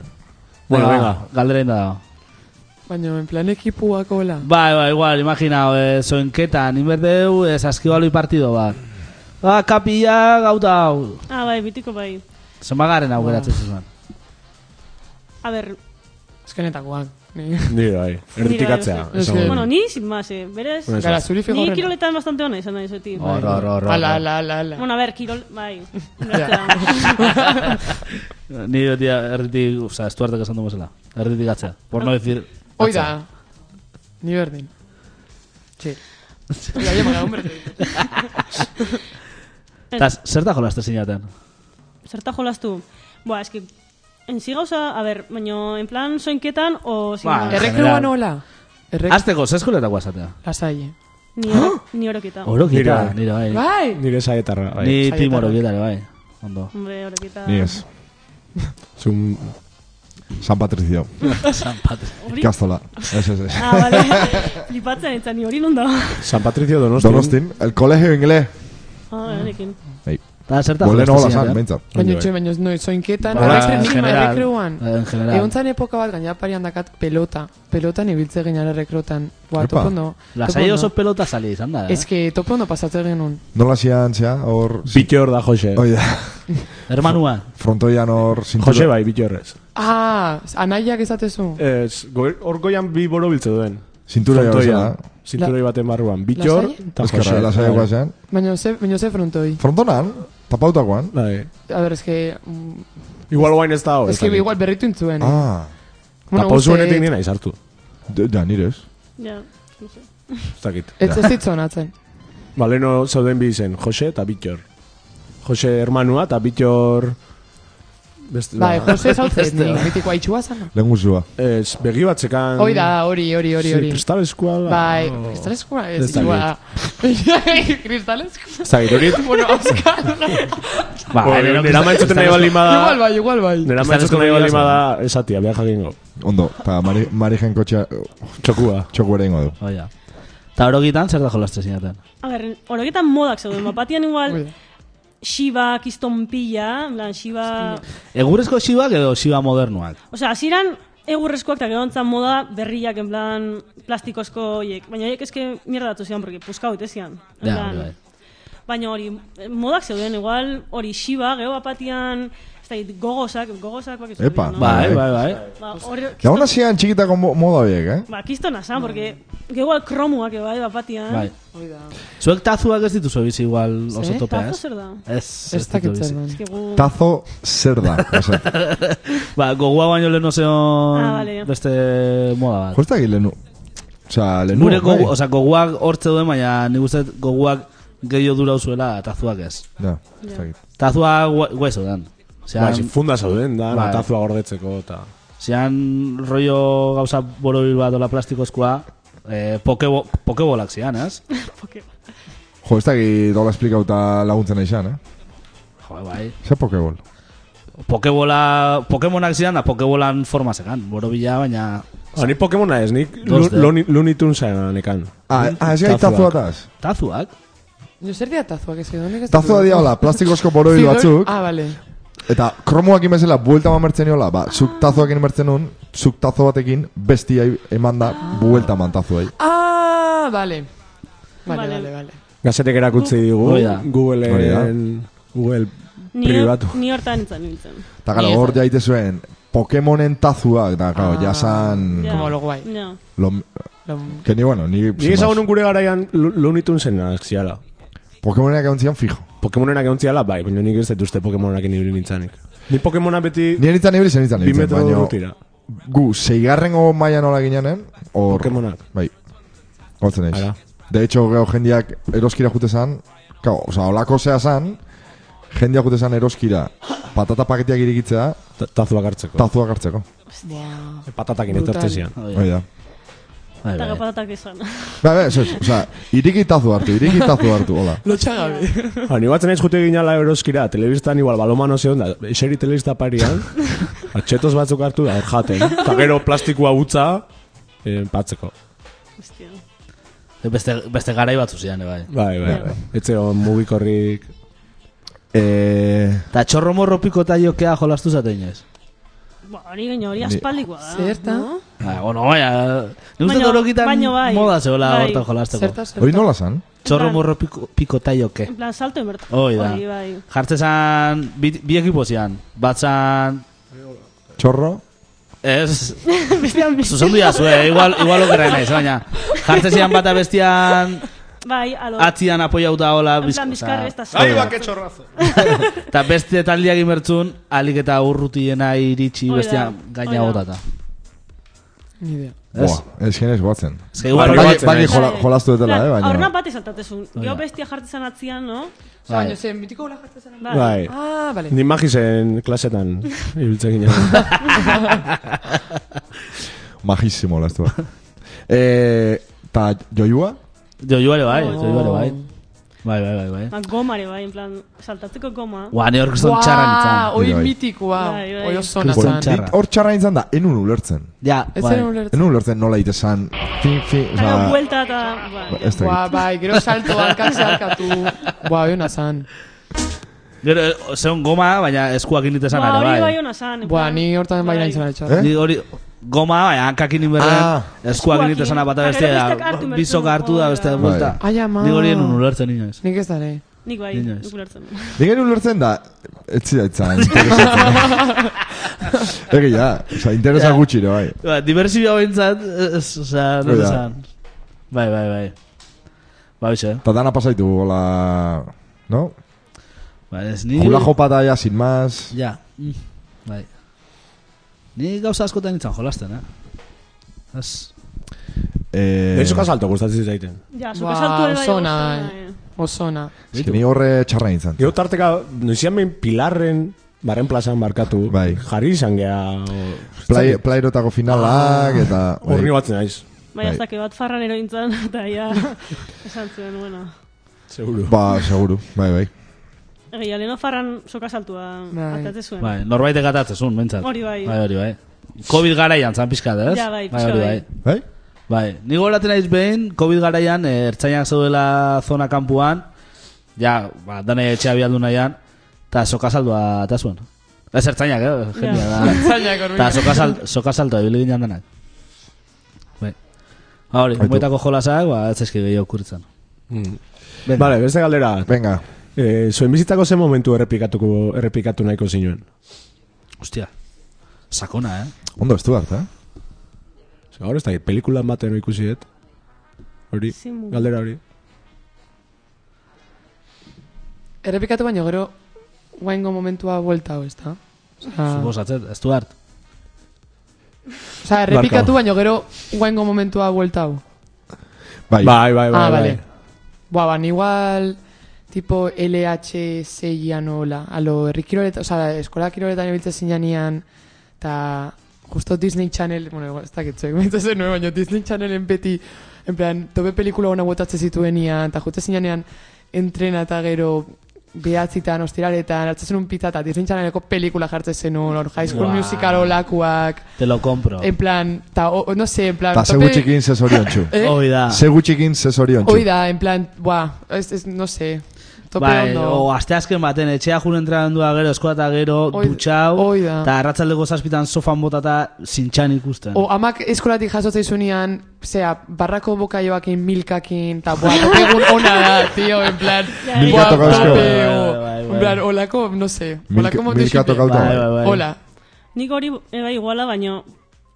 Bueno, venga. Galdera inda dago. Baina, en plan ekipuak hola. Bai, bai, igual, imagina, eh, zoinketan, inberdeu, eh, saskibaloi partido bat. Ah, kapilla, gauta hau. Ah, bai, bitiko bai. Zenbagarren aukeratzen zizuen. A ber, Eskenetakoak. Ni- Ni bai, erditikatzea. Ni bai, esango Eh. bueno, dut. ni sin más, eh. Berez, Bueno, Gara, zuri fijo ni horrela. kiroletan bastante ona izan da izoti. Hor, hor, hor, hor. Ala, ala, ala, ala. Bueno, a ber, kirol, <laughs> bai. Ja. <laughs> Ni beti erditik, oza, estuartek esan du bezala. Erditik atzea. Por no decir... Hoi da. Ni berdin. <laughs> Sí. Oiga, llamara, hombre. Ta, zer da jolazte zinaten? Zerta jolastu? Boa, eski, enzi gauza, a ber, baino, en plan soinketan, o... sin Ba, más. Errekreoan hola. Errek... Azteko, zeskoletakoa esatea. Lasai. Ni, oro, ni oroketa. Orokita, Nire bai. nire bai. Bai! Nire saietarra, bai. Ni tim Saietarrak. orokita ere bai. Ondo. Hombre, oroketa. Ni ez. Es un... San Patricio. <laughs> San Patricio. Hori? Ikastola. Ez, ez, ez. Ah, bale. <laughs> Flipatzen etzan, ni hori non da. San Patricio Donosti. Donostin, el colegio inglés. Ah, honekin. Bai. Eta zerta Boleno hola jolasten zan, ziren, behintzat. Baina Ondo, itxoin, baina ez noiz zoinketan, Ba, en errekreoan, general, errekreoan. en general. Egon zan epoka bat, gaina parian dakat pelota. Pelotan ibiltze ginen errekrotan. Boa, Epa. topondo. Lasai oso pelota sali izan da, eh? Ez que topondo pasatzen genuen. Nola zian, zea, hor... Bitxo hor da Jose. Oida, Hermanua. <laughs> frontoian hor... zintura- Jose bai, bitxo horrez. Ah, anaiak ezatezu. Eh. Ez, goi- hor goian bi boro biltze duen. Zintura jau zela. Zinturoi baten barruan. Bitxo hor, Lasai? eta Jose. Ezkerra, lasaiokoa Bai. zean. Baina ze, baina ze frontoi. Frontonan, tapautakoan. Bai. A ber, ez que... mm, Igual guain ez da hor. Ez que igual berritu Bai. intzuen. eh. Oh, Ah, Eta Bueno, pausuenetik uste- nina izartu. de- ja, nirez. Ja, no sé. Ez dakit. Ez ez ditzon <laughs> atzen. Baleno zauden bi izen, Jose eta Bitxor. Jose hermanua eta Bitxor... Beste, Bai, ba, Jose saltzen, mitiko haitxua zana. Lehen guzua. Ez, begi batzekan... Hoi da, hori, hori, hori, hori. Kristalezkoa da. Bai, Oh. kristalezkoa ez Ez dakit. zua. <laughs> Kristalezkoa. Ez dakit, hori... Bueno, Oscar. <laughs> Ba, Ba, hemen Nera maitxuten nahi bali Igual bada... bai, igual bai. Nera maitxuten nahi bali bada esatia, behar jakingo. Ondo, eta mari, marijen kotxea Txokua. txoku ere ingo du. Oia. Eta orogitan zer da jolaste zinaten? A ber, horoketan modak zeuden, bapatian igual, Ui, Shiba kiston pila, en plan, Shiba... Egurrezko xibak edo xiba modernuak? Osea, hasieran egurrezkoak eta gero ontzan moda berriak en plan plastikozko hoiek. Baina horiek eske mierda datu zian, porque puska hoite zian. En Ja, plan, hori bai. Baina hori, eh, modak zeuden, igual hori xiba, gero bapatian, ez dakit, gogosak, gogosak bakizu. Epa, no? Bai, Bai. bai, bai. Ba, hori, Ja, hona zian txikitako mo- moda horiek, eh? ba, kistona zan, porque gero igual kromuak bai, bapatian. Bai. hoi da. Zuek tazuak ez dituzu bizi igual oso Ze? topea, Tazo ez? zer da? Ez, Ez dakit ditu bizi. zer den. Ez gu... Tazo zer da. Osea, Ba, gogoa baino lehenu zeon Ah, bale. beste moda bat. Jostak lehenu. Osea, lehenu. Gure bai. gogu, oza, goguak hortze duen, baina nik uste dut goguak gehiago dura uzuela tazuak ez. Ja, ez dakit. Tazuak gu- guai zeuden. Ba, Zean, funda zauden da, Bai. natazua gordetzeko eta... zean rollo gauza borobil bat ola plastikozkoa, eh, pokebo, pokebolak zean, <laughs> ez? Porque- Jo, ez dakit dola esplikauta laguntzen aixan, eh? Jo, bai. Zer pokebol. Pokebola, Pokemonak zidan, da Pokebolan forma zekan. Borobila, baina Ba, ni Pokemona ez, nik Dos D. lunitun zainan ekan. Ah, ah, ez gai Tazoak. tazoa taz. tazuak. Ni zer dira tazuak ez edo nik ez. Tazoa dut. dia, hola, plastikozko borobil batzuk, Ah, vale. eta kromoak imezela buelta mamertzen niola, ba, zuk tazoakin mertzen nun, zuk tazo batekin, bestia eman da, buelta man tazoei. Ah, vale. Vale, Vale. vale, vale. Gazetek erakutzi digu, Hori da. Hori da. Googleen... Google Ni, privatu. ni hortan nintzen nintzen. Eta gara, Ni ez hor da. jaite zuen, Pokemonen tazuak, da, gau, Ah. jasan... Ja. Como lo guay. Bai, No. Lo, Lo... que ni, bueno, ni... Nik ezagun gure garaian lunitun zainan ziala. Pokemonenak egon zian fijo. Pokemonenak egontziala, bai, baina nik ez dut uste Pokemonenak ibili nintzanik. Ni Pokemona beti Ni enitzan ibili zen enitzan bi ibiltzen, metro baina... urrutira. Gu, seigarrengo maia nola ginen, hor... Pokemonak. Bai. Goltzen eiz. Ara. De hecho, gero jendiak eroskira jute zan, kao, oza, olako zea zan, jendiak jute zan eroskira, patata paketiak irikitzea, Ta- Tazuak hartzeko. tazuak hartzeko. Patatakin Brutal. etortzen zian. Hoi da. Bai, Eta bai. gapatatak esan. <laughs> Ba, ba, ez, ez, oza, iriki tazu hartu, iriki tazu hartu, hola. <laughs> Lotxagabe. Ha, ni batzen ez jute ginala eroskira, telebistan igual balomano zeon da, eseri telebista <laughs> parian, atxetos batzuk hartu da, hor jaten. Eta gero plastikua utza, eh, patzeko. Hostia. Beste, beste garai batzu zian, bai. Bai, bai, bai. Etxe hon mugikorrik... Eh, Eta txorro morro piko eta jokea jolastu zaten ez. Ba, hori gaina hori Ni- aspaldikoa da. Zerta? no? Ba, bueno, baina... Nik uste Baino- dorokitan baino bai. moda zeola Bai. hortan jolasteko. Zerta, zerta. hori nola zan? Txorro Plan- morro piko, piko eta joke. En plan, salto emerta. Hoi da. Hori, bai. Jartzen zan, bi, bi ekipo zian. Bat zan... Txorro? Ez... Zuzendu jazu, eh? Igual, igual okera naiz, baina... Jartzen zian bata bestian... Bai, alo. Atzian apoiauta hola... En plan, bizkarra ez da Bai, salto. txorrazo! Eta beste taldeak imertzun, alik eta urrutiena iritsi Hoi da, bestian gaina hoi da. botata. Ni idea. Ez? Boa, ez genez guatzen. Ez que igual... Bai, igual- batzen, Baki eh? jola, jolastu detela, eh, baina... Bai. Horna bat esatatezun. Geo da. bestia jartzen atzian, no? Bai. Baina zen, mitiko hola jartzen zara. Bai. Bai. Ah, vale. Ni magizen klasetan ibiltzen ginen. <laughs> Majissimo, lastu. eh, ta joiua? Jo, joare bai, jo, joare bai. Bai, bai, bai, bai. Ba, goma ere bai, en plan, saltatzeko goma. Ua, ne hor kriston txarra nintzen. Oi Bai. mitikoa, Bai, bai. oi oso Kriston nazan. txarra. Hor txarra izan da, enun ulertzen. Ja, Ez bai. zen ulertzen. Enun ulertzen nola itesan. Fin, fin, Eta oza, vuelta eta... Ba, ja. ez Ba, dakit. bai, gero salto hankak zarkatu. Ba, oi nazan. Gero, eh, zeon goma, baina eskuak initesan Ba, hori are, bai bai. hona zan. en Ba, plan, ni hortan bai bai. nahi zara etxar. Eh? Ni hori goma, baina hankak inin berrean, Ah. eskuak Eskuak initesan in- bata eta beste, gero besteak hartu da, mertu bizok hartu da dugu, beste bai. vuelta. Ai, ama. Ni hori enun ulertzen inoiz. Nik ez da, ne? Nik bai, Inoiz. nik ulertzen. Nik enun ulertzen da, ez zidatzen. Egia, <laughs> oza, interesa Ja. gutxi, ere, bai. Ba, diversibia bintzat, ez, oza, no Hori da. esan. Bai, bai, bai. Ba, bixe. Eta dana pasaitu, hola... No? Ba, ez ni... Jula jopa da, ya, sin más. Ja. Mm, Bai. Ni gauza askotan nintzen jolasten, eh? Ez... Eh, Noizu kasalto gustatzen zaiten. Ja, Ba, zuka saltu ere bai. oso ona, oso ona, eh. eh. Oso na. es que ni horre txarra nintzen. Gero tarteka, noizian behin pilarren, barren plazan markatu, Bai. jarri izan gea... Play, playrotako Ah, finalak, eta... Horri batzen naiz, Baina ez Bai. dakit bat farran ero intzan, eta <laughs> ja, esan zuen, bueno. seguru. Ba, seguru, bai, bai. Egia, leheno farran soka saltua Bai. atatze zuen. Bai, norbait egatatze zuen, bentsat. Hori bai. Bai, hori bai. Covid garaian zan pixkat, ez? Ja, bai, bai, pixka hori bai. bai. Bai? Bai, ni goratzen naiz behin, Covid garaian, eh, ertzainak zeudela zona kanpuan, ja, ba, danai etxea bialdu nahian, eta sokazaldua eta zuen. Ez ertzainak, eh? Jendea da. Zainak Eta horbi. sokazaldua, sokazaldua, ibili ginen denak. Bai. Ba, hori, Baitu. moitako jolasak, ba, ez eski gehiago kurtzen. Venga. Bale, beste galdera. Venga. Eh, zuen bizitzako ze momentu errepikatuko, errepikatu nahiko zinuen? Hostia. Sakona, eh? Ondo estu harta, eh? Ze Gaur ez da, pelikulan baten ikusi dut. Hori, Zimu. galdera hori. Errepikatu baino gero, guaingo momentua buelta hau, ez da? Osa, Suposatzen, ez du hart. Osa, errepikatu baino gero, guaingo momentua buelta hau. Bai. Bai, bai, bai. Ah, bai. vale. Ba, ban, igual tipo LH6 hola, alo herrikiroleta, o sea, eskola kiroletan ibiltzen zinean ta justo Disney Channel, bueno, igual, ez dakit zuek, baita zen nuen, baina Disney Channelen beti, en plan, tope pelikula ona botatzen zituenian, eta jute zinean entrena eta gero behatzitan, ostiraletan, hartzen zenun pizza eta Disney Channeleko pelikula jartzen zenun, hor High School Buah. Musical olakoak, Te lo compro. en plan, ta, o- o, no sé, en plan, Ta ze gutxikin ze zorion txu. Eh? Hoi da. Ze gutxikin ze zorion txu. Hoi da, en plan, buah, ez, ez, no sé, tope Bai, ondo. o asteazken baten, etxea jure entrenamendua gero, eskola eta gero, Hoi- dutxau, hoi da. eta arratzaldeko zazpitan sofan botata zintxan ikusten. O amak eskolatik jasotzen zunean, zea, barrako bokaioakin, milkakin, eta buah, topegun ona da, tío, en plan, Milka buah, toka asko. tope, Bai, bai, bai, o, bai. en plan, olako, no sé, Milka, olako motu milka xipe. tokauta. Bai, bai. bai, bai. Hola, Nik hori e, bai iguala, baino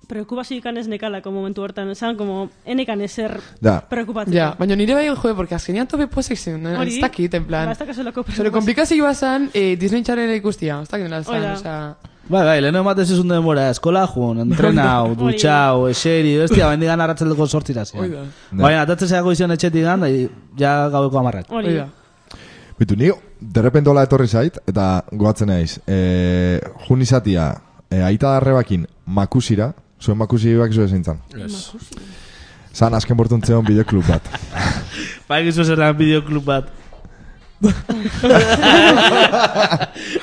preokupazio ikanez nekalako momentu hortan, esan, como, enekan ezer Da. preokupatzeko. ja, baina nire bai, jode, porque azkenean tope pozik zen, eh, Hori, ez dakit, en Ba, plan. ez dakazelako Zure preokupazio. komplikazioa zan, eh, Disney Channel ikustia, ez dakit nola Hoi zan, da. osea... Bai, bai, leheno ematen zizun denbora, eskola <laughs> jun, entrenau, dutxau, eseri, bestia, baina digan arratzaldeko sortziraz. Hoi da. Baina, atatzen zeago izan etxetik gan, da, ja gaueko amarrak. Hoi Hori, da. Bitu, ni derrepentola etorri zait, eta goatzen naiz. E, jun izatia, e, aita darrebakin makusira, zuen makusi bak zuen zeintzan. Zan azken bortuntzeon bideoklub <laughs> bat. Bai, gizu zer lan bideoklub <laughs> bat.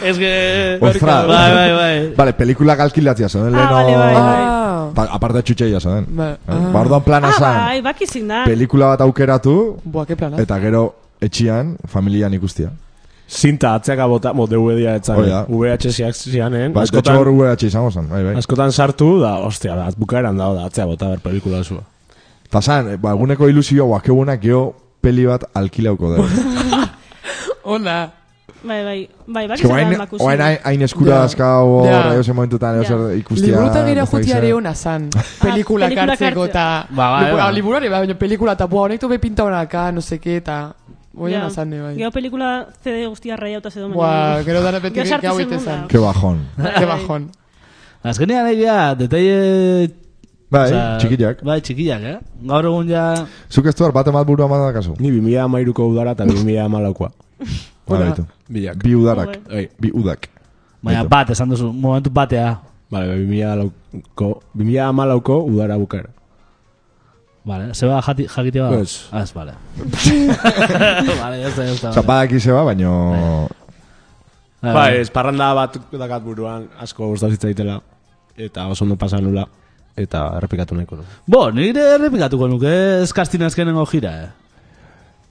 Ez que... Ostra. Bai, bai, bai. Vale, pelikulak alkilatzia zoen, leheno... vale, bai, bai. Ah, Ta, aparte Ba, txutxeia zoen. Ba- Eh, ba, orduan plana Ah, zan, bai, bakizin da. pelikula bat aukeratu, buah, que plana. eta gero etxian, familian ikustia. Zinta atzeaka bota, mo, DVD-a etzan. Hoi da. VHS-iak zianen. Ba, ez dutxo hor UH izango zen, bai, bai. Askotan sartu, da, ostia, da, bukaeran dago da, atzea bota ber pelikula zua. Ta zan, eh, ba, eguneko ilusio guakegunak geho peli bat alkilauko da. Hola. Bai, bai, bai, Ez que bakizin da, oain, bakusi. oain hain- hain eskura Ja. dazkau hor, Ja. yeah. eosen momentutan, eosen Ja. ikustia. Liburuta gira ez dakit jutia zer. ere ona zan. Ah, Pelikula pelikula kartzeko hartzea. eta... Ba, ba, Liburu- ba. ah, liburu hori, baina pelikula eta buah, honek tope pinta honaka, no seke, eta... Oia ona zan, ne, bai. Geo pelikula CD guztia raiauta zedo. Buah, gero dara beti Gero sartu gau zen ite una. zan. Ke bajon. Ke bajon. Azkenean nahi dira, detaile... Bai, osea, txikiak. Bai, txikiak, eh? Gaur egun ja... Zuk ez duar, bat emat burua bat dakazu. Ni 2000 amairuko udara eta 2000 amalaukoa. Hala, bitu. Bilak. Ba, Bi udarak. Joder. Bai, Bi udak. Baina Beto. bat, esan duzu, momentu batea. ba, Bale, bai, 2000 amalauko udara bukaera. Vale, se va jati, jakitea bada? Ez. Ah, Ez, <laughs> vale. vale, ya está, ya está. Osa, ba- bai. badaki zeba, baino... Vale, Ba, vale. esparranda bat dakat buruan asko gustatzen zitzaitela eta oso ondo pasa nula eta errepikatu nahiko nu. Bo, nire errepikatuko nuke ez kastin azkenengo jira, eh?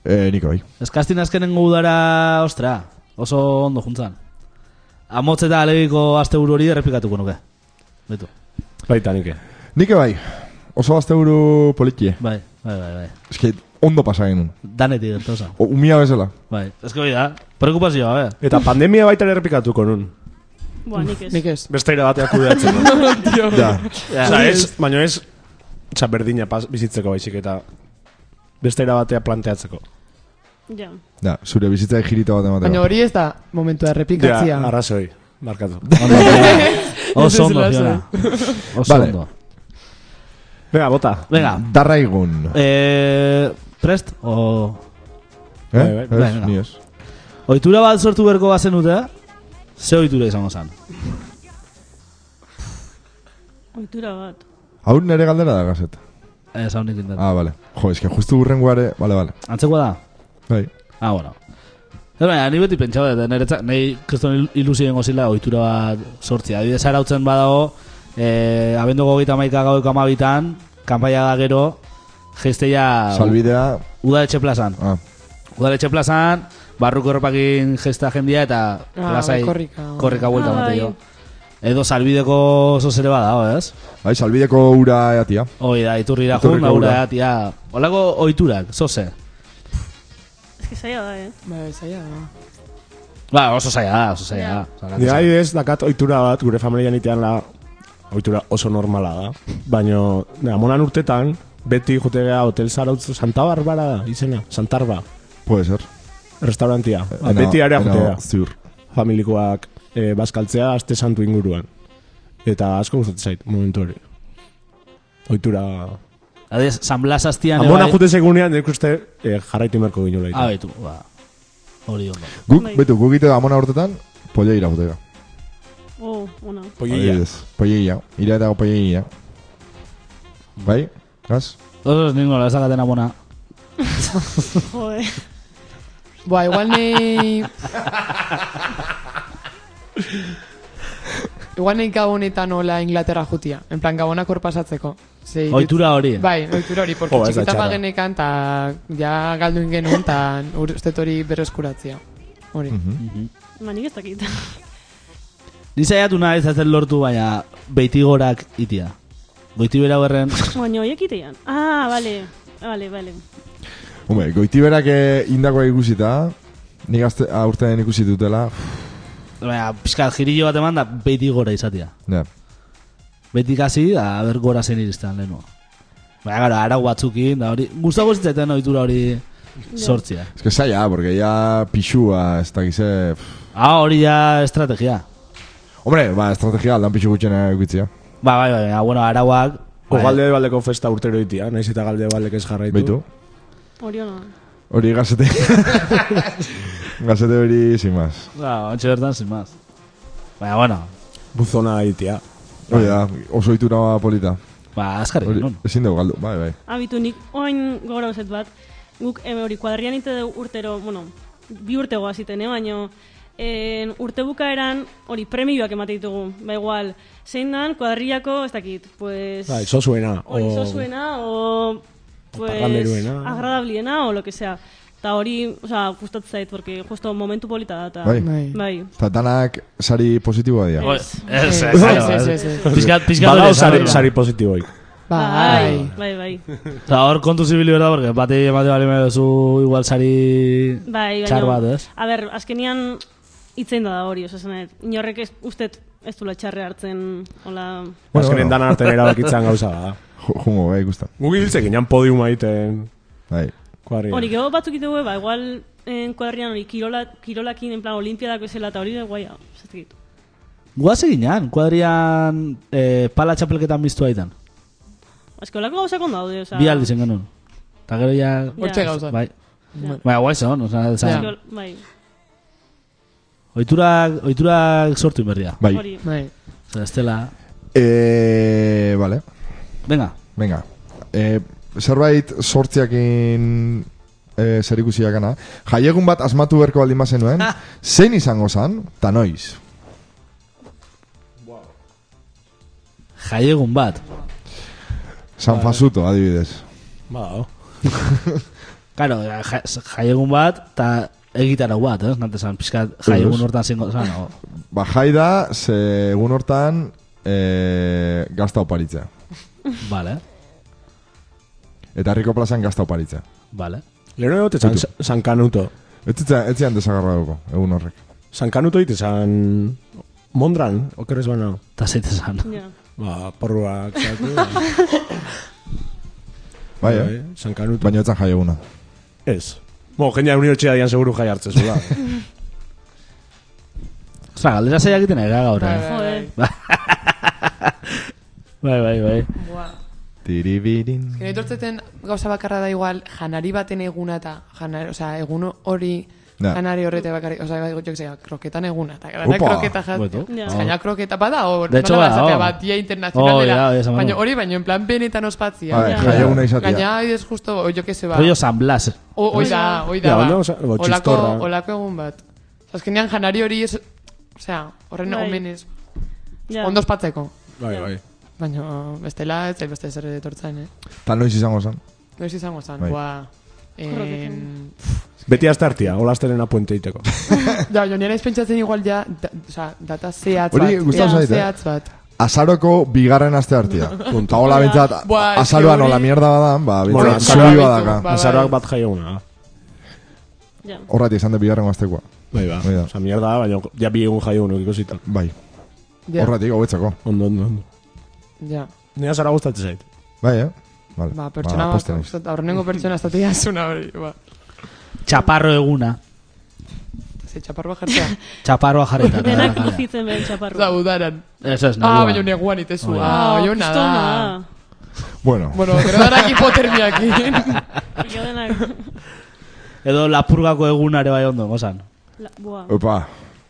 Eh, niko bai. Ez kastin azkenengo udara, ostra, oso ondo juntzan. Amotz eta alebiko aste buru hori errepikatuko nuke. Betu. Baita nike. Nike bai. Oso asteburu politie. Bai, bai, bai, bai. Ez que ondo pasa genuen. Danetik gertosa. O, Umia bezala. Bai, ez hori da, preokupazioa, eh. <laughs> be. Eta pandemia baita ere errepikatuko nun. Boa, nik ez. Nik ez. Beste ira bateak kudeatzen. <laughs> Ja. Osa, ez, baina ez, osa, berdina pas, bizitzeko baizik eta beste ira batea planteatzeko. Ja. Ja, zure bizitza jirita bat ematea. Baina hori ez da momentua errepikatzia. Ja, arrazoi, markatu. Oso ondo, Ez ez Fiona. Oso Vale. ondo. Venga, bota. Venga, Darraigun. eh, prest, o... bai, bai, Eh? bai, Ez, venga. ni ez. Oitura bat sortu berko bazen dute, ze oitura izango zan. Oitura bat. Hau nere galdera da gazeta. Ez, hau nik indat. Ah, vale. Jo, ez que justu urrengoare... Vale, vale. Ah, Antzekoa da? Bai. Ah, bueno. Ez baina, ni beti pentsau dut, eh, niretzat, nahi kriston ilusio dengo zila oitura bat sortzia. Adibidez, arautzen badago, eh, abenduko gita maika gaueko amabitan, kanpaia da gero, jesteia Salbidea... udaletxe plazan. Ah, Udaletxe plazan, barruko erropakin jesta jendia eta plazai bai, korrika. korrika buelta Ah, ah, bai. jo. Edo salbideko zozere badago, ez? bai, salbideko ura eatia. Hoi da, iturrira jun, Iturriko naura ura. atia. Olako oiturak, zoze. Ez que zaila da, eh? Bai, zaila da. Ba, oso zaila da, oso zaila da. Zalantza. Nire adibidez, dakat ohitura bat, gure familian itean la ohitura oso normala da. Baina, nire amonan urtetan, beti jutegea Hotel Zarautzu Santa Barbara da, izena, Santarba, Puede ser. restaurantia. Ba, Eh, Ena- beti area ena jutegea, Ziur. familikoak e, bazkaltzea aste santu inguruan. Eta asko gustatzen zait, momentu hori. Ohitura... Adez, San Blas aztian... Amona jute segunean, nire uste e, jarraitu merko ginula Ah, ite. betu, ba. Hori ondo. Guk, Bai. betu, guk ite da amona urtetan, polleira jutega. Oh, ona. <laughs> Poieia. Polleira. Ira eta polleira. Bai? Gaz? Oso ez ningo, lezakaten amona. Joder. Ba, igual nei... igual nei gabonetan hola Inglaterra jutia. En plan, gabonak hor pasatzeko. Zei, Oitura hori. Bai, oitura hori, porque Jo, ez da txikita txarra. bagenekan, ta ja galdu ingenuen, ta uste hori berreskuratzia. Hori. Ba, nik ez dakit. Ni saiatu nahi ez zen lortu, baina beitigorak itia. Goiti bera berren... <laughs> Baina horiek itean. Ah, vale. Vale, vale. Hume, goitiberak eh, indakoa ikusita, nik azte, aurten ikusi dutela, baina, pixka, jirillo bat eman da beitigora izatia. ja. Beti kasi, da, ber gora zen iristan lehenua. Baina, gara, arau batzukin, da hori... Gustavo zitzaiten oitura hori sortzia. Ez que zaila, porque ya pixua, ez da gize... Ah, hori ja estrategia. Hombre, ba, estrategia aldan pixu gutxena egitzia. Ba, bai, bai, baina, bueno, arauak... bai, Galde baldeko festa urtero itia, nahiz eta galde baldek ez jarraitu. Beitu. Hori ona. Hori gazete... gazete hori, sin más. Ba, ontsi bertan, sin más. Baina, bueno, Buzona itia. Hori da, oso itura polita. ba, azkarri, Hori, non? ezin dugu galdu, bai, bai. Abitu nik oain gogora bezet bat, guk eme hori kuadrian ite dugu urtero, bueno, bi urte goaziten, eh, baino, en, urte bukaeran hori premioak emate ditugu, ba igual, zein dan kuadriako, ez dakit, pues... Bai, zozuena. hori o- zozuena, o... Pues, parranderuena. agradabliena, o lo que sea. Eta hori, oza, gustatzen zait, porque justo momentu polita da, eta... Bai. Bai. Bai. Eta danak sari positiboa dira. Oi, Ez. Ez, ez, Ez, ez, ez. ez, ez. Pizkat, pizkat Badao hori Ba, sari, esan sari behar. positiboik. Bai. Bai, bai. Eta hor kontu zibili berda, porque bati emate bali medio zu igual sari Bai, baina... txar bat, ez? A ber, azkenian itzen da hori, oza, zenet. Inorrek ez, ustet ez dula txarre hartzen, hola... Bueno, Azkenen bueno. danan arten erabakitzen gauza da. Ju- Jungo, bai, gustan. Guk hiltzen ginen podiuma egiten Bai. kuadria. Hori, gero batzuk ite ba, igual en kuadrian hori kirola, kirolakin, en plan, olimpiadako ezela eta hori da guaia, zatekit. Guaz eginan, kuadrian eh, pala txapelketan biztu aitan. Azke, holako gauzak ondo daude, oza... Bi aldi zen genuen. Eta gero ja... Hortxe Ja. gauza. Bai. Baina guai zen, oza, Ja. zan. Bai, Oiturak, oiturak sortu inberdia. Bai. hori. Bai. Oza, estela... Eh, vale, Venga, venga. Eh, zerbait sortziakin e, zerikusiakana. Jaiegun bat asmatu berko baldin bazenuen, zein izango zan, eta noiz. Jaiegun bat. San Fasuto, adibidez. Ba, Claro, ja, jaiegun bat, eta egitarau bat, eh? Nante zan, pixkat jaiegun Ez. hortan zingo zan, o. Ba, jai da, ze egun hortan e, gazta oparitza. Vale, Eta herriko plazan gazta oparitza. vale. Lero egote zan, zan kanuto. Ez zitza- ez zian desagarra dugu, egun horrek. Zan kanuto ite zan... Mondran, okerrez baina. Eta zeite zan. Ja. Ba, porruak, <laughs> zatu. Bai, eh? Zan kanuto. Baina etzan jaieguna. Ez. Bo, jendea unibertsia dian seguru jai hartzen zula. Ostra, galdera zeiak egiten ega gaur, bai, eh? Joder. Bai, bai, bai. Tiribirin. Gero etortzeten gauza bakarra da igual janari baten eguna eta janari, osea, egun hori Ja. janari horrete bakarrik, osea, jo que sea, kroketan eguna eta gara Opa! kroketa Bueno. jatzen. Ja. Gaina kroketa bada hor, De hecho, nola bada, esatea hor. bat dia internacional Oh, dela. ja, esa baina mano. hori baino en plan benetan ospatzia. Bai, Ja. jaieguna izatea. Gaina es justo, jo que se ba. Rollo San Blas. O, oi da, oi Ja, da. baina, ba. osea, bo, Olako, txistorra. olako egun bat. Azkenean janari hori es, osea, horren Bai. omenez Ja. ondo ospatzeko. <laughs> bai, bai. Baina bestela ez zait beste zer etortzen, eh. Eta noiz izango zan. Noiz izango zan, Bai. ba. Kroketan. En, Beti astartia, olasteren apuente iteko. Ja, jo, nire ez pentsatzen igual ja, da, oza, data zehatz bat. Hori gustatu plan zait, eh? zehatz bat. Azaroko bigarren aste <laughs> hartia. Eta hola bintzat, Buah, eske azaroan hori- hola mierda badan, ba, Bueno, bintzat, azaroa zubi bitu, badaka. ba. Azaroak bat ah. jaieguna. Ja. Horrati izan de bigarren gaztekoa. Bai, ba. Bai da. Osa, mierda, baina ja bi egun jaieguna ikusita. Bai, Ja, horrati hobetzeko. Ondo, ondo, ondo. ja. Ni azara gustatzen zait. Bai, eh? Vale. Ba, pertsona ba, bat, aposten naiz. ustat- aurrenengo pertsona ez dati jazuna hori, ba. Txaparro eguna. Ze txaparroa jartzea. <laughs> Txaparroa jarrita. <laughs> Denak buzitzen behen txaparru. Oza, udaran. Ez ez, Ah, negua. baina neguan itezu. Oi. Ah, jo nada. Bueno, Bueno, gero darak hipotermiakin. <laughs> Jo denak. Edo lapurgako egunare bai ondo, gozan. La, bua. opa.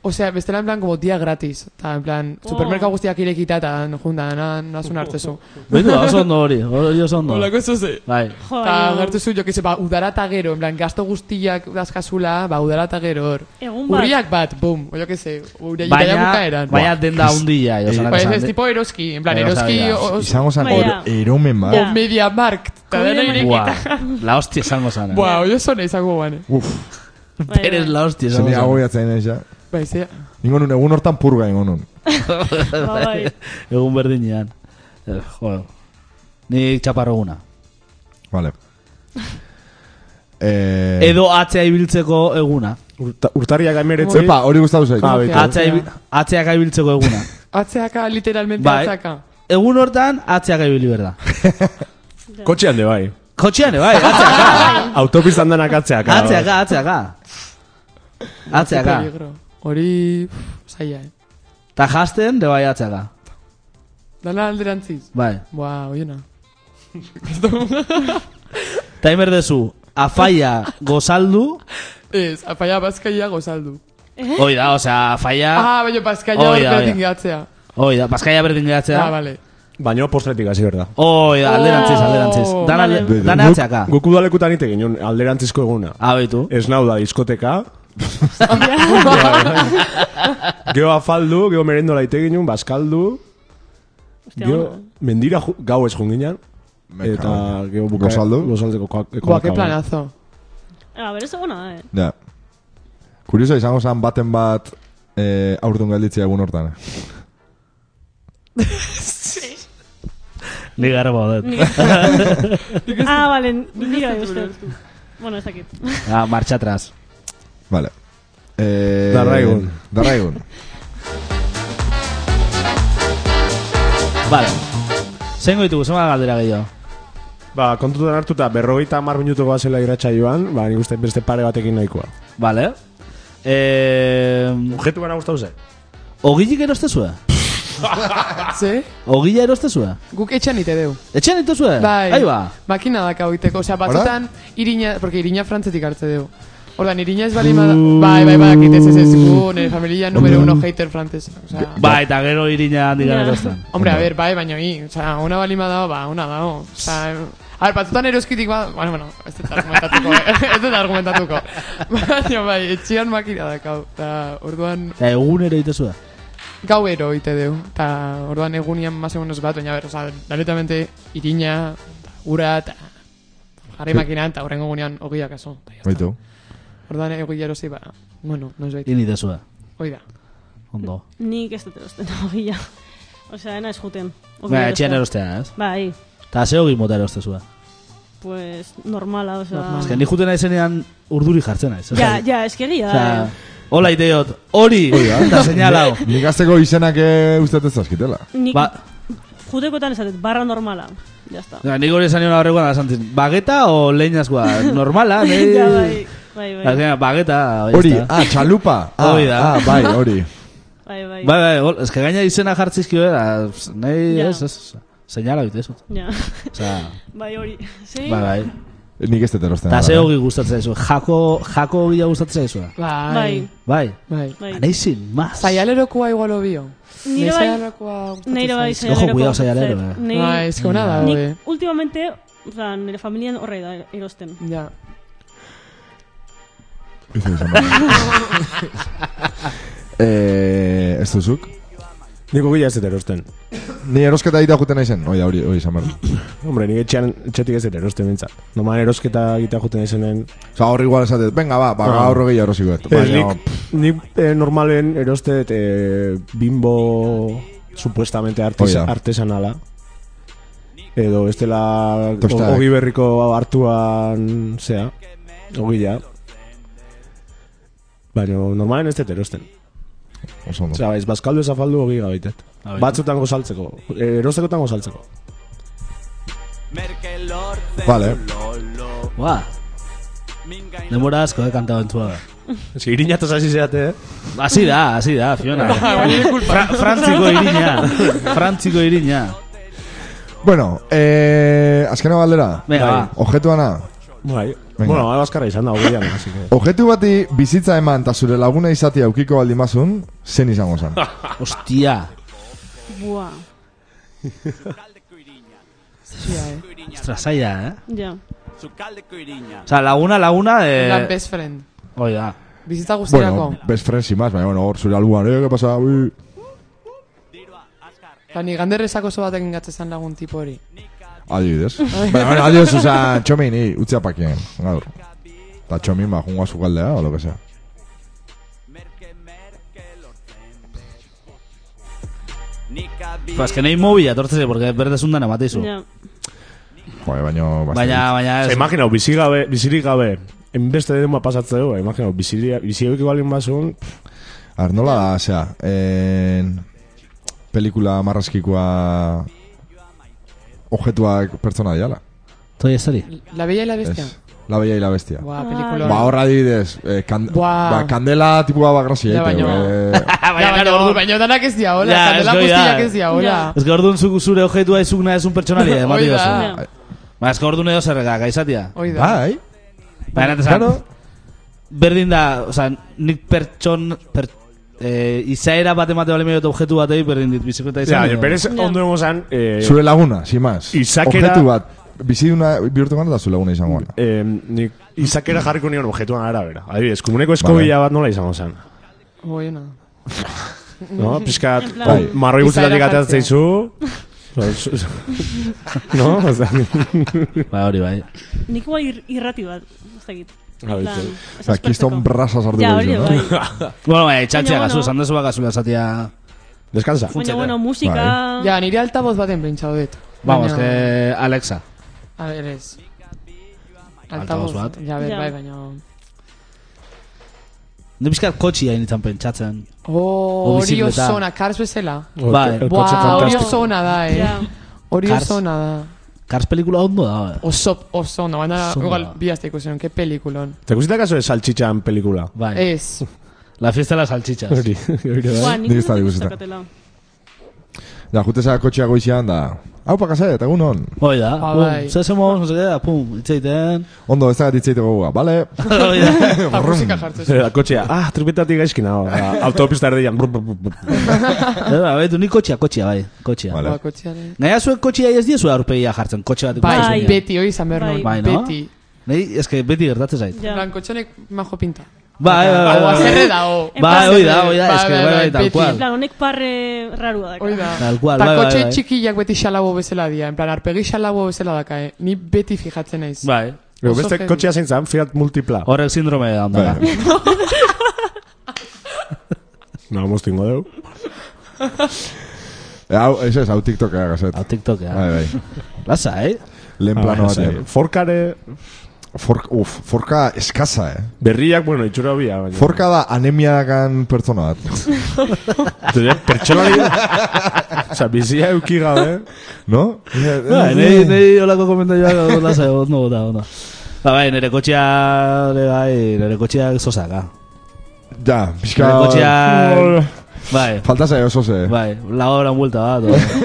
Osea, bestela en plan, como día gratis. Ta, en plan, Oh. supermerka guztiak irekita, eta junta, na, nasun <laughs> hartzezu. Beitu, oso ondo hori, hori oso ondo. Olako ez duze. Bai. Jo, Eta baina- gertu zu, jo, que se, ba, udara eta gero, en plan, gasto guztiak dazkazula, ba, udara eta gero hor. Egun bat. Urriak bat, bum, o jo que se, ura italia Baina, bukaeran. baina denda eh, hundia, osan. Ba, ez ez Pues tipo eroski, en plan, Baina, eroski, osadia. o- o- Izango zan, Bai, er, ja. eromen bat. Ja. media markt, eta dena Comida irekita. Buah, la hostia esango zan. eh. Buah, oio zone izango guan, eh. Uf, Bai, bai. Eres la hostia esango zene zan. agoiatzen ez, ja. Ba, izea. Ningo nun, egun hortan purga ningo nun. Ba, bai. <laughs> Egun berdinean. Eh, Jo. Ni txaparro eguna. Vale. <laughs> Eh, Edo atzea ibiltzeko eguna. Urta, urtariak aimeretzi. Epa, hori gustatu zait. Ah, beti. Atzea ibi- Atzeak ibiltzeko eguna. Atzeaka, literalmente Bai. atzaka. Egun hortan, atzeak ibili berda. Kotxean de bai. Kotxean, bai, <laughs> atzeaka. Autopistan danak atzeak. Atzeaka, atzeaka. Atzeaka. Peligro. Hori, uf, zaila, eh. Ta jasten, de bai atzeaka. Dala alderantziz. Bai. Buah, oiona. Timer dezu, afaia <laughs> gozaldu. Ez, afaia bazkaia gozaldu. Hoi da, osea, afaia... Ah, baina bazkaia Oida, hor oida. berdin gatzea. Hoi da, paskaia berdin Ah, geratzea. vale. Baina postretik hasi berda. Hoi da, alderantziz, Oh. alderantziz. Dan, alde, Vale. dan atzeaka. Guk udalekutan ite ginen alderantzizko eguna. Abeitu. Ez nau da diskoteka. Geo afaldu, geo merendola ite ginen, baskaldu. Ostia, Geo bueno. mendira ju, gau ez junginan. Eta geo buka... Gozaldu. Gozaldeko koak. Buah, que planazo. Ah, bere oso ona da, eh. Ja. Kurioso, izango zan baten bat eh, aurdun galditzea egun hortan. eh. <laughs> Ni garba <laughs> dut. Ah, balen, dira uste. Bueno, ez dakit. Ah, marcha atrás. Vale. Eh, Darraigun. Darraigun. Vale. Zengo ditugu, zenbat galdera gehiago. Ba, kontutan hartuta, berrogeita mar minutuko zela iratxa joan, ba, nik uste beste pare batekin nahikoa. Vale. Eh, Ujetu gara guztau ze? ogilik erostezue? Ze? Ogila erostezue? Guk etxan ite deu. Etxean dituzue? Bai. Ahí va. Makina daka oiteko. Osea, batzutan, irina, porque irina frantzetik hartze deu. Ordan, irina ez bali bada... Uh. Bai, bai, bai, kitez ez ez gu, nire familia número uno hater frantzes. Osea, Ba, eta gero irina handik gara Ja. erosten. hombre, a ver, bai, baina hi. Osea, ona bali bada, ba, ona dao. Osea, A ber, batzutan eroskitik ba... Bueno, bueno, ez dut argumentatuko, eh? <laughs> ez dut argumentatuko. <laughs> Baina bai, etxian makina dakau. Ta, orduan, Eta egun ere itezu da. gauero ite deu. Ta, orduan egunian más egunos bat, baina ber, oza, directamente irina, ta, ura, ta... Jarri makinan, eta horrengo gunean ogiak aso. Ta, ya <laughs> está. Baitu. Orduan egilero zi, ba... Bueno, noiz baita. Ini itezu da. Oida. Ondo. Nik ez dut erosten, <laughs> ogila. Osea, ena ez juten. Ogi Ba, erostea. etxean erostea, ez? Bai, Eta ze hogi mota erostezu da. pues, normala, osea... Normal. Azken, ni juten naizenean urduri jartzen naiz. Ja, ja, ez que egia eh. da. Osa, hola ideiot, hori, eta seinalau. Nik azteko izenak eh, uste dut ez azkitela. Nik Ba, jutekotan esatet, barra normala. Ja <laughs> está. ja, Ba, nik hori esan nion aurrekoan asantzin. Bageta o leinazkoa? Normala, nahi? <laughs> ja, bai, bai, bai, Azkenean, bageta, Ba, bai, Hori, ezta. ah, <laughs> txalupa. Ah, Hori da. ah, bai, hori. bai, bai. Bai, bai, hol- eske gaina izena jartzizkio, eh, nahi, Ja. ez, ez, seinala bitezut. Ja. Osa, <laughs> bai, hori. Sí? bai, bai. Nik ez dut erosten. Eta ala. ze hogi gustatzen zaizu, jako, jako hogia gustatzen zaizu. Bai. Bai, Bai, Bai. bai. anaisin, maz. Zaialerokoa igualo bio. Nire Nei bai- Zaialerokoa gustatzen Neire bai zait. Ojo, saialeroko cuidado, gustatzen saialero, zait. eh. Nei- Ba, ez que hona da, Nik, oe. últimamente, oza, nire familian horre da erosten. Ja. bai. <laughs> Eh, ez duzuk? Niko gila ez dut erosten. Ni erosketa egitea juten naizen. Oia, hori, hori izan behar. Hombre, nik etxean, etxetik ez dut erosten bintzat. Noman erosketa egitea juten izenen. Osa, hor igual esatet, venga, ba, ba, Ah. gaur hori erosiko dut. Ez, Baina, nik, nik eh, normalen erostet eh, bimbo supuestamente artes, Hoi da. artesanala. Edo ez dela Tostadak. ogi berriko hartuan zea, ogila. Baina normalen ez dut erosten. oso ondo. Osea, ez bazkaldu ez afaldu ogi gabaitet. Bai. Batzutan gozaltzeko, eh, erostekotan gozaltzeko. Vale. Ba, denbora asko, eh, kanta bentua. Ez irinataz hasi zeate, eh? Hasi da, hasi da, <laughs> Fiona. Fra Frantziko irina, Frantziko irina. Bueno, eh, azkena galdera. Venga, ba. Objetuana. Bai. Venga. Bueno, hau azkarra izan da, ogian, hasi que... Objetu bati bizitza eman eta zure laguna izatea aukiko baldin bazun, zen izango zen. <laughs> Ostia. Buah, Ja, eh. Ostra, zaila, eh? ja. Osa, laguna, laguna, Lan eh... best friend. Hoi da. Bizitza guztirako. bueno, best friends y más, baina, bueno, hor zure alguan, eh, que pasa, ui. Eta ni ganderrezako oso batekin gatzezan lagun tipo hori. <laughs> Adibidez. baina, bueno, adiós, oza, txomin, i, utzea pakien, gaur. Eta txomin, ba, jungo a su galdea, o lo que sea. Ba, ezken egin mobila, tortzeze, porque berdezundan amateizu. Ja. Joder, baino, bastante. Baina, baina... Ze, ez- Imaginau, bizi gabe, bizirik gabe, enbeste dema pasatzea du, imaginau, bizirik balin bazun, Ar, nola da, osea, en... Pelikula marrazkikoa... Objetuak pertsona diala. Toi, ez hori? La bella y la Ez. bestia. La bella y la bestia. Buah, Ah. pelikula. Ba, horra adibidez, eh, kan, Buah. ba, kandela tipua ba grazia Ja, egite, baino. <laughs> eh. Ah, Ja, baina, ordu, baina danak ez dia, hola. Ja, Ja, esko, ja. guztiak ez dia, hola. Ja. Ez que orduan zuk zure objetua izuk nahi esun pertsonalia, <laughs> emate Hoi da. diozu. Ba, ez que orduan edo zerrega, gaizatia. Hoi da. Ba. Bai, Baina, eta zan, berdin da, oza, nik pertson, per, eh, izaera bat emate bale mediot objetu batei, berdin dit, bizikleta ja, izan. edo- berez ondo emo zan, eh, zure laguna, sin más. Izakera- Objetu bat, biziduna bihurtu gana da zure laguna izango gana. eh, nik izakera jarriko nion objetuan arabera. Adibidez, komuneko eskobila bat nola izango zan. Hoiena. No, pizkat, En plan- bai. marroi guztetatik Izaera ateatzen jartzea. zaizu. no, oza, Ba, hori bai. Nik igual ir, irrati bat, ez dakit. Ah, A ver, Ba, Plan, sí. ez Eta kiston aspertzeko. brasa sartu Ja, behizu, <laughs> hori, no? Ah, bai. Bueno, baina, etxatzea Baina, bueno. gazu, esan dezu bakazula esatia... descansa. Baina, bueno, musika... Ja, nire altavoz baten pentsatu dut. Vamos, Baina- que Alexa. A ver, ez. Altavoz bat. Ja, ber, Ja. bai, baina... Ni pizkat kotxi hain izan pentsatzen. Oh, O hori bizikleta. osona, Cars bezala. Bai. El coche Buah, hori fantástico. osona da, eh. Ja. Hori Cars. osona da. Cars pelikula ondo da, eh. Oso, oso ondo, baina Oso ondo. igual bi aste ikusi ke pelikulon. Te guztetak aso de salchicha en pelikula. Bai. Ez, La fiesta de las salchichas. Hori, hori, bai. <laughs> Buah, nik eh, Nik ez ez dakit dakit guztetan. daukatela. Ja, jutezea kotxea goizian da, Hau pakase, eta egun hon. Hoi da, Ba, pum, bai. zezemoz, no seke, pum, itzeiten. Ondo ez da ditzeite gogoa, <laughs> bale? Hoi da. Eta Ah, musika <laughs> jartzen zuen. Zera, kotxea, ah, tripetatik gaizkina, autopista erdian. brr, brr, brr, <laughs> brr. Eba, betu, ni kotxea, kotxea, bai, kotxea. Vale. Ba, kotxearen. Naia zuek kotxea ez diezu aurpegia jartzen, kotxe bat Bai, Bai. beti, hoi izan behar Bai. nuen. Bai, no? Beti. Nei, eske beti gertatzen zait. Ja. Blanco txonek majo pinta. Bai, bai, bai, Hau, bai. azerre dago. Bai, hoi da, hoi da, Bai, eske, bai, bai, bai, bai, tal beti. cual. En plan, honek parre rarua daka. Hoi da. Tal cual, Ta bai, bai, kotxe bai. txikiak beti xalabo bezala dia. En plan, arpegi xalabo bezala daka, eh? Ni beti fijatzen naiz. Bai. Gero, Oso Beste heavy. kotxea zein zan, Fiat Multipla. Horrek sindrome da onda. Bai. No, moztingo dugu. Eh, Hau, ez ez, hau TikToka gazet. Hau TikTokea. Bai, bai. Lasa, eh? Lehen plano Ah, batean. Forkare, Fork, uf, forka eskaza, eh? berriak, bueno, itxura bia, baina. Forka da anemia dakan pertsona bat. Zure, pertsolari... Osa, bizia euki gabe. No? Eh, Bai, nei, nei olako komentarioak lasa, ondo bota, ondo. Ba, bai, nire kotxea, nire bai, nire kotxea zozaka. Ja, pixka... Nire kotxea... Bai, Falta zaio oso ze. bai, la hora en vuelta bat. o-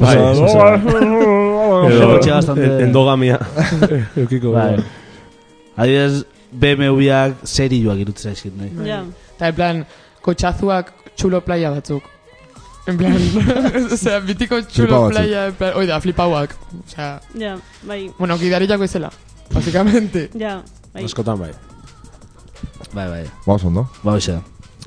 Bai, Zosa- zosa- Nire Edo, kotxea bastante- en- <laughs> Endogamia. Eukiko. Bai. Bai. Adibidez, BMW-ak seri joak irutzen zaizkit, nahi. Ja. Eta, en plan, kotxazuak txulo playa batzuk. En plan, <laughs> osea, bitiko Flipa txulo batzuk. playa, en plan, oida, flipauak. Osea, Ja, bai, bueno, gidarilako izela, básicamente. ja, bai. Askotan bai. Bai, bai, Bauz ondo. ba, hoxe,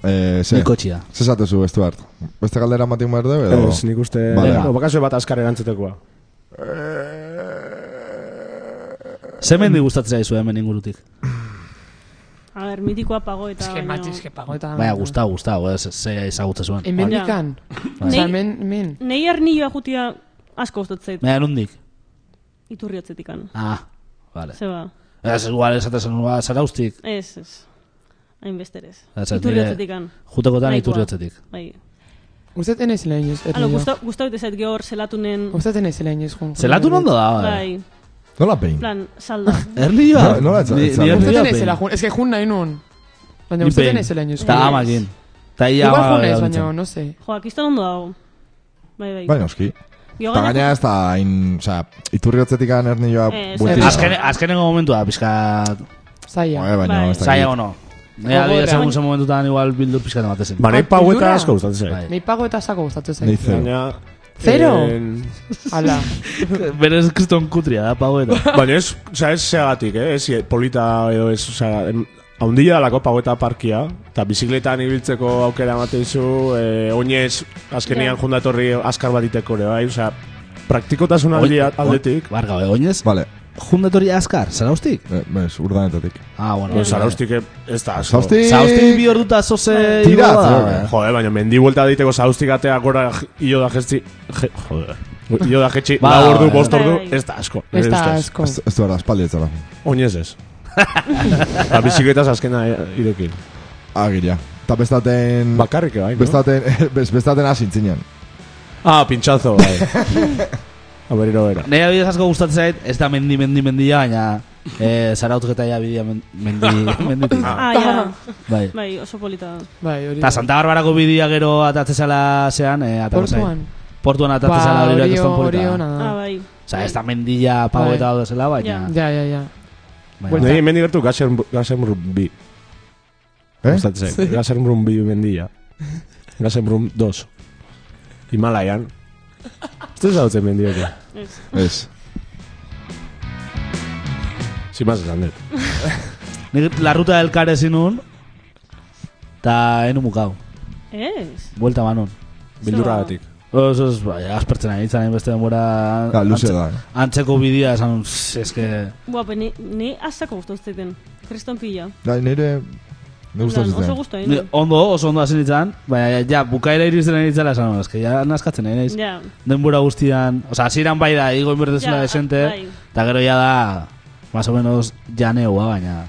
Eh, ze. nire kotxea. Ze zatezu, Estuart? Beste galdera matin behar dugu, edo? Ez, nik uste... Vale. No, bakazue bat askar erantzetekoa. Eh, Zemen di gustatzen zaizu hemen ingurutik? A ber, mitikoa pago eta Es que, baino- macho, es que pago eta... Baina, gustau, gustau, ez, ze ezagutza zuen. Ah. Bai. Hemen dikan. Osea, hemen, hemen. Nei arnioa jutia asko gustot zait, Baina, nondik? iturriotzetik an. Ah, vale. Zeba, Ez, igual, esatezen, igual, zaraustik. ez, ez. Hainbester ez. Ba, Ez, ez, Iturriotzetik nire- an. Jutekotan Nahikoa. iturriotzetik. Bai. Usted enez lehen, Alo, ez. Ah, gusta, gusta bete zait gehor zelatunen... Usted enez lehen, ez. Zelatu nondo da, eh? Bai, Nola pein? plan, salda. Erli joa? No, nola etza- etza- Usted Usted enez jun. Ez que jun nahi nun. Baina Ni usted behin. enez lehen, ez. Eta amakin. Eta ia Igual ama- junez, baina, no sé. Joa, kizta ondo dago. Bai, bai. Baina, oski. Gero Eta gainera- gaina ez da, hain, osea, iturri hotzetik anerni joa Eh, ez bueltita. da. Azken, azkenengo momentua, pixka... Oe, Zaila. baina, Bai. ez da. Zaila ono. Nea, Gogorra. adibidez, egun zen momentutan igual bildur pixka ematezen. Ba, nahi Ah, paueta pildura? asko gustatzen zait. Bai. Nei pago eta zako gustatzen Nei zaiz. zero. Baina- Zero? En- Ala. Berez kriston kutria da, pagoeta. Baina ez, oza, ez seagatik, eh? Ez polita edo ez, oza, haundia dalako pagoeta parkia, eta bizikletan ibiltzeko aukera ematen zu, eh, oinez azkenian Bai. Ja. jundatorri askar bat iteko, ere, bai? Oza, praktikotasun aldi aldetik, Barga, be, oinez? Ba, Vale, Jundatori askar, zaraustik? eh, bez, urdanetatik. Ah, bueno. pues, vale. zaraustik eh, ez da asko. Zaustik! Zaraustik bi orduta zoze... Tira, igo da. tira, eh. Jode, baina mendi vuelta daiteko zauztik atea gora j- ilo da jetzi... Je, jode. Ilo da jetzi, Ba, lau ordu, bai, bost bai. ordu, Bai, bai. ez da asko. Ez nire da ustez. asko. Ez ez du ara, espaldi etzara. Oinez <laughs> ez. Eta bizikletaz azkena eh, irekin. Agiria. Eta bestaten... Bakarrik, bai, no? Bestaten, <laughs> bez, bestaten hasin zinen. Ah, pintxazo, <laughs> bai. A berriro bera. Nei adibidez asko gustatzen zait, ez da mendi, mendi, mendia, baina eh, zarautketa ja bidea men- <laughs> mendi, menditik. Ah, ja, Bai. bai, oso polita. da. Bai, hori. Eta Santa Barbarako bidea gero atatzezala zean, eh, atako zait. Portuan. Portuan atatzezala Ba, hori hori berak ez hori polita. ona Ah, da. bai. Osa, ez da mendilla pagoeta hau zela, baina... Ja. Ja, ja, ja. baina- Buelta. Nei, hemen gertu gazen, gazen bi. Eh? Eh? Gazen brun bi mendia. Gazen brun dos. Himalaian. Ez da dutzen mendiak. Ez. Ez. Zimaz esan dut. Nik la ruta del care zinun, eta enu mukau, Ez. buelta manun. Bildurra gatik. Oz, oz, bai, aspertzen ari nintzen, beste denbora... Ja, Ba, luze antze- da. Antzeko bidea, esan, pff, eske... Bua, pe, ne, ne azako gustot zaiten. Kriston pila. Da, nire... Ne Plan, eh? gustas Oso zuten. gustu Ni- egin. Ondo, oso ondo hasi nintzen, baina ja, bukaera iristen ari nintzela, esan, eske, ja, naskatzen ari naiz. Ja. denbora guztian, oza, hasieran bai da, igo inbertezela Ja, desente, bai. eta gero ja da, más o menos, janeua, baina,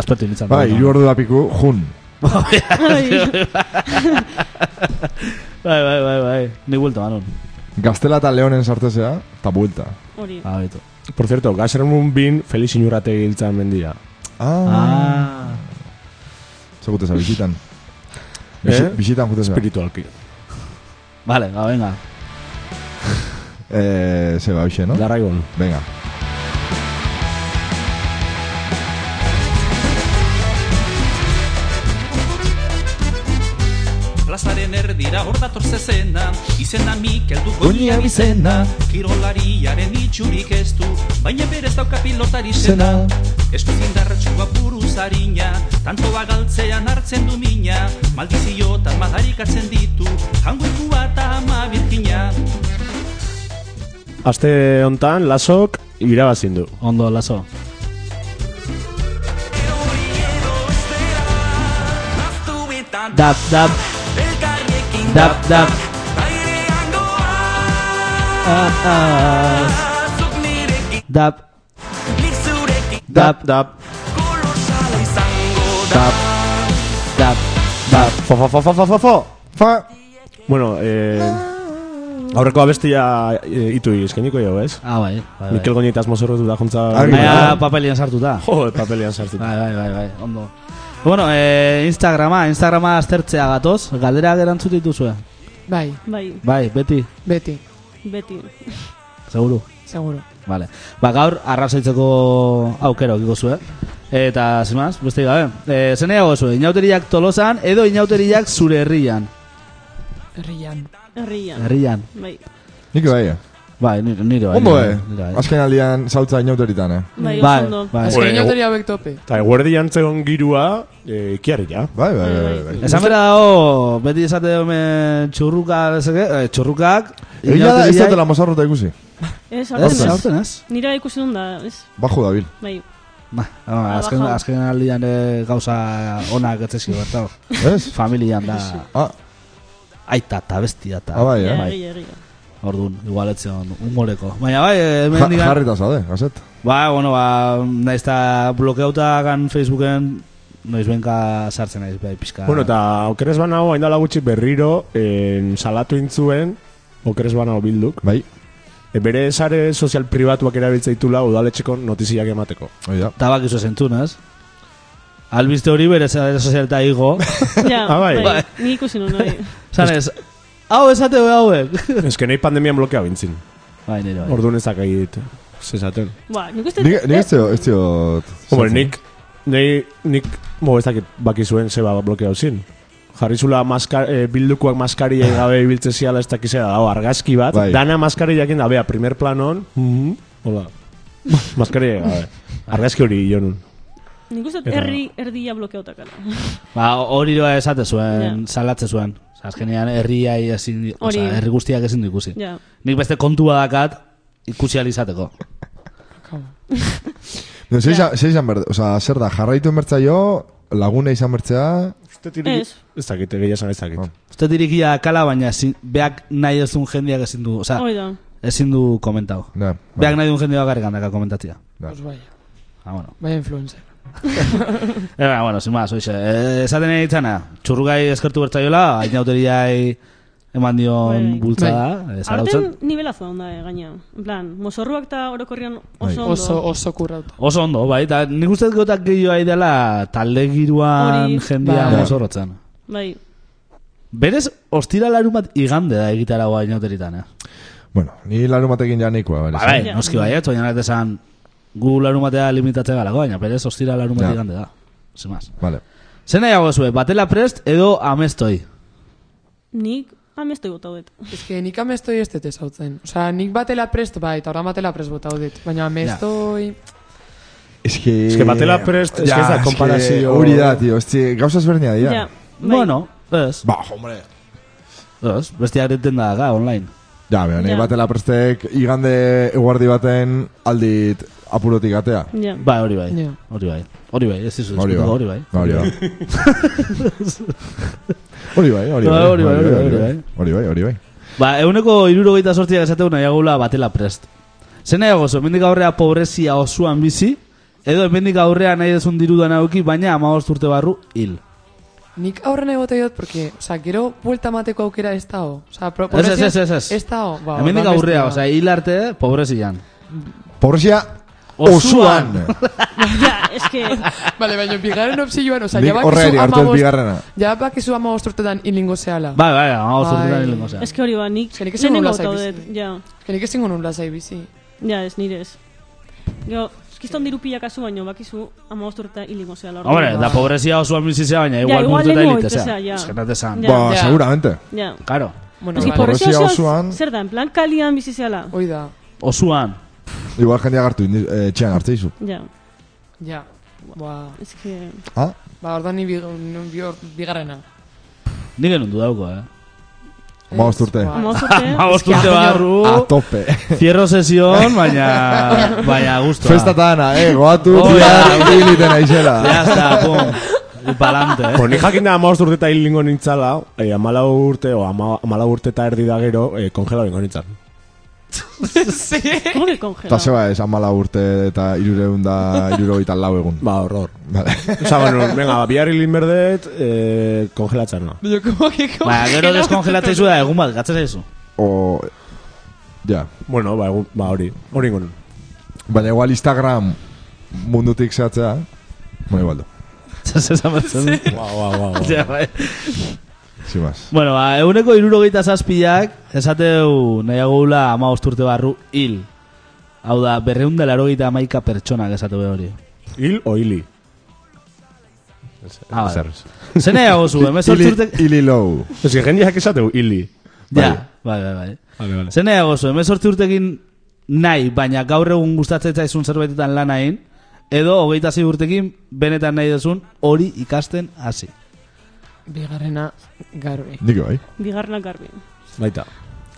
aspertu nintzen. Bai, baina. hiru ordu da piku, jun. Bai, bai, bai, bai, ni buelta manon. Gaztela eta leonen sartezea, eta buelta. Hori. Ah, beto. Por cierto, gazen brun bin Feliz inurrate giltzan mendia. Ah, Ah, seguteza, bizitan. Eh? Eh? Bisi- Bisitan jutezea. Espiritualki. vale, ba, venga. Eh, se va, hoxe, no? Darraigon. Venga. Plazaren erdira hor dator zezena Izena Mikel du Goñian goñian izena izena. Kirolariaren itxurik ez du Baina berez dauka pilotari Izena. izena Eskuzindarratxua buruz harina Tantoa galtzean hartzen du mina Maldiziotan madarikatzen ditu Jangoikua eta ama birkina Aste hontan lasok irabazin du. Ondo, lazo. Dap, dap. Dap, dap. Ah, ah. Dap, dap, dap. dap, dap. Fo, fo, fo, fo, fo, fo, fo. Fa. Bueno, eh, aurreko abestia eh, itu eskeniko jau, ez? Ah, bai, bai, bai. Mikel Goñetaz mozorrotu da juntza... Argi. Baina papelian Bai, sartuta. Bai. Jo, papelean sartu. Bai, bai, bai, bai, ondo. Bueno, eh, Instagrama, Instagrama aztertzea gatoz, galdera gerantzut dituzue. Bai, Bai, Bai, beti, beti, beti. seguru. seguro. Vale. Ba, gaur arrazoitzeko aukero ekiko zue. Eta, zimaz, beste gabe. E, Zene dago zue, inauteriak tolosan edo inauteriak zure herrian. Herrian. Herrian. Herrian. Bai. Nik bai, eh? Bai, nire, nire bai. Ondo, eh? nire- nire bai. Azken aldian saltza inauteritan, eh? Bai, oso Bai, ondo. bai. Ez que Bueno. inauteria hauek tope. Eta eguerdi jantzegon girua, eh, ikiarri ja. Bai, bai, bai, bai. Esan bera dago, beti esate hemen txurruka, ezeke, eh, txurrukak, Egia da, ez inauteriak- dutela mozarrota ikusi. Ez, Ez, aurten ez. aurten ez? Nira ikusi dut da, ez? Bajo dabil. Bai. Ba, ba, azken, bajau. azken aldian eh, gauza onak etzezki bertao. Ez? Familian da Ah, aita eta bestia eta. ah, bai, eh? Bai. Herria, herria. Orduan, igual etzion umoreko. Baina bai, eh, Ja, hemen digan... jarrita zaude, gazet. Ba, bueno, ba, nahiz eta blokeauta gan Facebooken noiz benka sartzen naiz, bai, pixka. Bueno, eta okeres banao, hain dala gutxi berriro, en, salatu intzuen, okeres banao bilduk. Bai, E, bere sare sozial pribatuak erabiltza ditula udaletxeko notiziak emateko. hori da. Eta bakizu zentzunaz. Albiste hori bere zare sozialta <laughs> igo. Ja, Ah, bai. bai. Ni ikusi nun, bai. Zanez, hau esate hau hauek. <laughs> Ez que nahi pandemian blokea bintzin. Bai, nire bai. Orduan ezak egit. Zezaten. Ba, nik uste... Nik nik ez dio, ez dio... Hombre, nik, nahi, nik, bo, ez dakit baki zuen zeba blokea zin. Jarri zula maskar, eh, bildukoak <laughs> maskariai gabe ibiltze ziala ez dakizea dago argazki bat. Bai. Mm-hmm. Dana maskariakin da, bea, primer planon. Mm Hola. <laughs> Maskariai gabe. Argazki hori jonun. Nik uste Eta- herri erdia blokeautakala. Ba, hori doa esate zuen, Ja. salatze zuen. Osa, azkenean herriai ezin, di- Hori. osea, herri guztiak ezin du ikusi. Ja. Nik beste kontua dakat ikusi ahal izateko. No, ze izan, ze izan berde, oza, zer da, jarraitu enbertza jo, laguna izan bertzea... Ez. Ez dakit, egia esan ez dakit. Ah. Uste dirikia kala, baina ezin, beak nahi ez duen jendeak ezin du, oza, Hoi da. ezin du komentau. Ne, bai. Beak nahi duen jendeak garrikan daka komentatzia. Pues vaya, Ah, bueno. vaya influencer. Eta, Eh, ah, bueno, sin más, oixe. Eh, esaten egin zana, txurrukai eskertu bertzaiola, hain auteriai eman dion Bai. bultzada, eh, zarautzen. Arten nivelazoa onda, eh, gaina. En plan, mozorruak eta orokorrian Bai. oso ondo. Oso, oso kurrauta. Oso ondo, bai, eta nik uste dut gotak gehiago ari dela talde giruan Hori. jendia Bai. mozorrotzen. Bai. Berez, ostira larun bat igande da egitara guain auteritan, eh? Bueno, ni larun batekin ja nikoa, bale. Ba, bai, Ja. noski bai, baina nahi esan gu larun batea limitatzea galako, baina berez, ostira larun bat Ja. igande da. Sin más. Vale. Zer nahiago zue, batela prest edo amestoi. Nik amestu gota dut. Ez que nik amestoi ez dut ezautzen. Osa, nik batela prest, bai, eta orain batela prest botau dut. Baina amestoi... Ez que... Ez que batela prest, ez que ez da konparazio- Hori da, tío, ez que gauza ezberdina dira. Ja. Bai. Bueno, ez, Ba, hombre. ez, bestiak diten da, ga, online. Ja, bera, nahi Ja. batela prestek igande eguardi baten aldit apurotik atea. Ja. Bai, hori bai, Ja. hori bai, hori bai, ez dizu, Hori ba. hori bai. Hori <laughs> ba. Hori bai, hori bai. Bai, hori bai, hori bai. Hori bai, hori bai. Ba, euneko irurogeita sortziak esateu nahiagula batela prest. Zer nahiago zu, hemendik aurrea pobrezia osuan bizi, edo hemendik aurrea nahi dezun dirudan auki, baina amagost urte barru hil. Nik aurren egote dut, porque, osa, gero buelta mateko aukera ez dao. Osa, Ez, ez, ez, ez, ez. Ez dao. Ba, hemendik orduan aurrea, bestea. osea, hil arte pobrezian. Pobresia osuan. <laughs> Ja, eske, Bale, baina bigarren opzioan, oza, Nik ja horreari bakizu hartu dut amabost... bigarrena. Ja bakizu amabost urtetan inlingo zehala. Bai, bai, hau Bai. zurtetan hilengo zea. eske hori ba, nik Ze nik ez lehenengo zegoen lasai taudet, ja, Genik ez zingon unla zai bizi. ja, ez nire ez. Gero, eskizton diru pila kasu baino, bakizu ama osturta hilingo zehala. orduan. Hombre, da pobrezia osuan bizizea, baina igual igual multu eta lehenengo hilite zea. hiltzea, ja. Eskenat esan. Ja. Ba, Ja. seguramente. Ja. Karo, Bueno, Eski, bai. por- pobrezia Pobrezia osoan, osoan- zer da, en plan kalian bizi zehala. Hoi da. osuan. Igual jendeak hartu indi- eh, etxean hartu dizu. Ja, Ja. Ba, eske, Ah? ba ordan ni big- ni bior- bigarrena. Nik genuen dudauko, eh. Hamabost urte. Ez, ba. <laughs> ama osturte, Hau osturte barru, A tope. cierro sesión, baina, baina gustoa. Festatan, eh, goatu, Ba. Oh, tirar, hiliten Ya aizela. está, pum. Upalante, eh. Poni jakin da amabost urte eta hil lingo nintzala, eh, amalau urte, o ama, amalau urte eta erdi da gero, eh, kongela lingo nintzan. Ze? como que Eta congela. zeba ez, amala ba, urte eta irureun da irurogeita lau egun. Ba, horror. Vale. Osa, bueno, venga, bihar hilin berdet, eh, kongelatzen no. Dio, como que... como Baina, Ba, que gero no. deskongelatza izu da, egun bat, gatzaz izu. O... Ja. Bueno, ba, egun- ba, hori, hori ingo nun. Baina igual Instagram mundutik zehatzea. Bueno, igual do. Zaz <laughs> ezamertzen. Ba, ba, ba, ba. Ja, bai. Sin más. Bueno, ba, euneko irurogeita zazpilak, esateu nahiago gula ama osturte barru hil. Hau da, berreunda larogeita amaika pertsonak esateu behar hori. Hil o hili? Ah, vale. Ezer ez. Ze nahiago zu, emez Ili, urte... ili low. Eske, jendeak esateu hili. Ja, bai, bai, bai. Vale, vale. Ze nahiago zu, emez urtekin nahi, baina gaur egun gustatzen zaizun zerbaitetan lan hain, edo hogeita zei urtekin benetan nahi duzun hori ikasten hasi. Bigarrena eh. garbi. Nik bai. Bigarrenak garbi. Baita.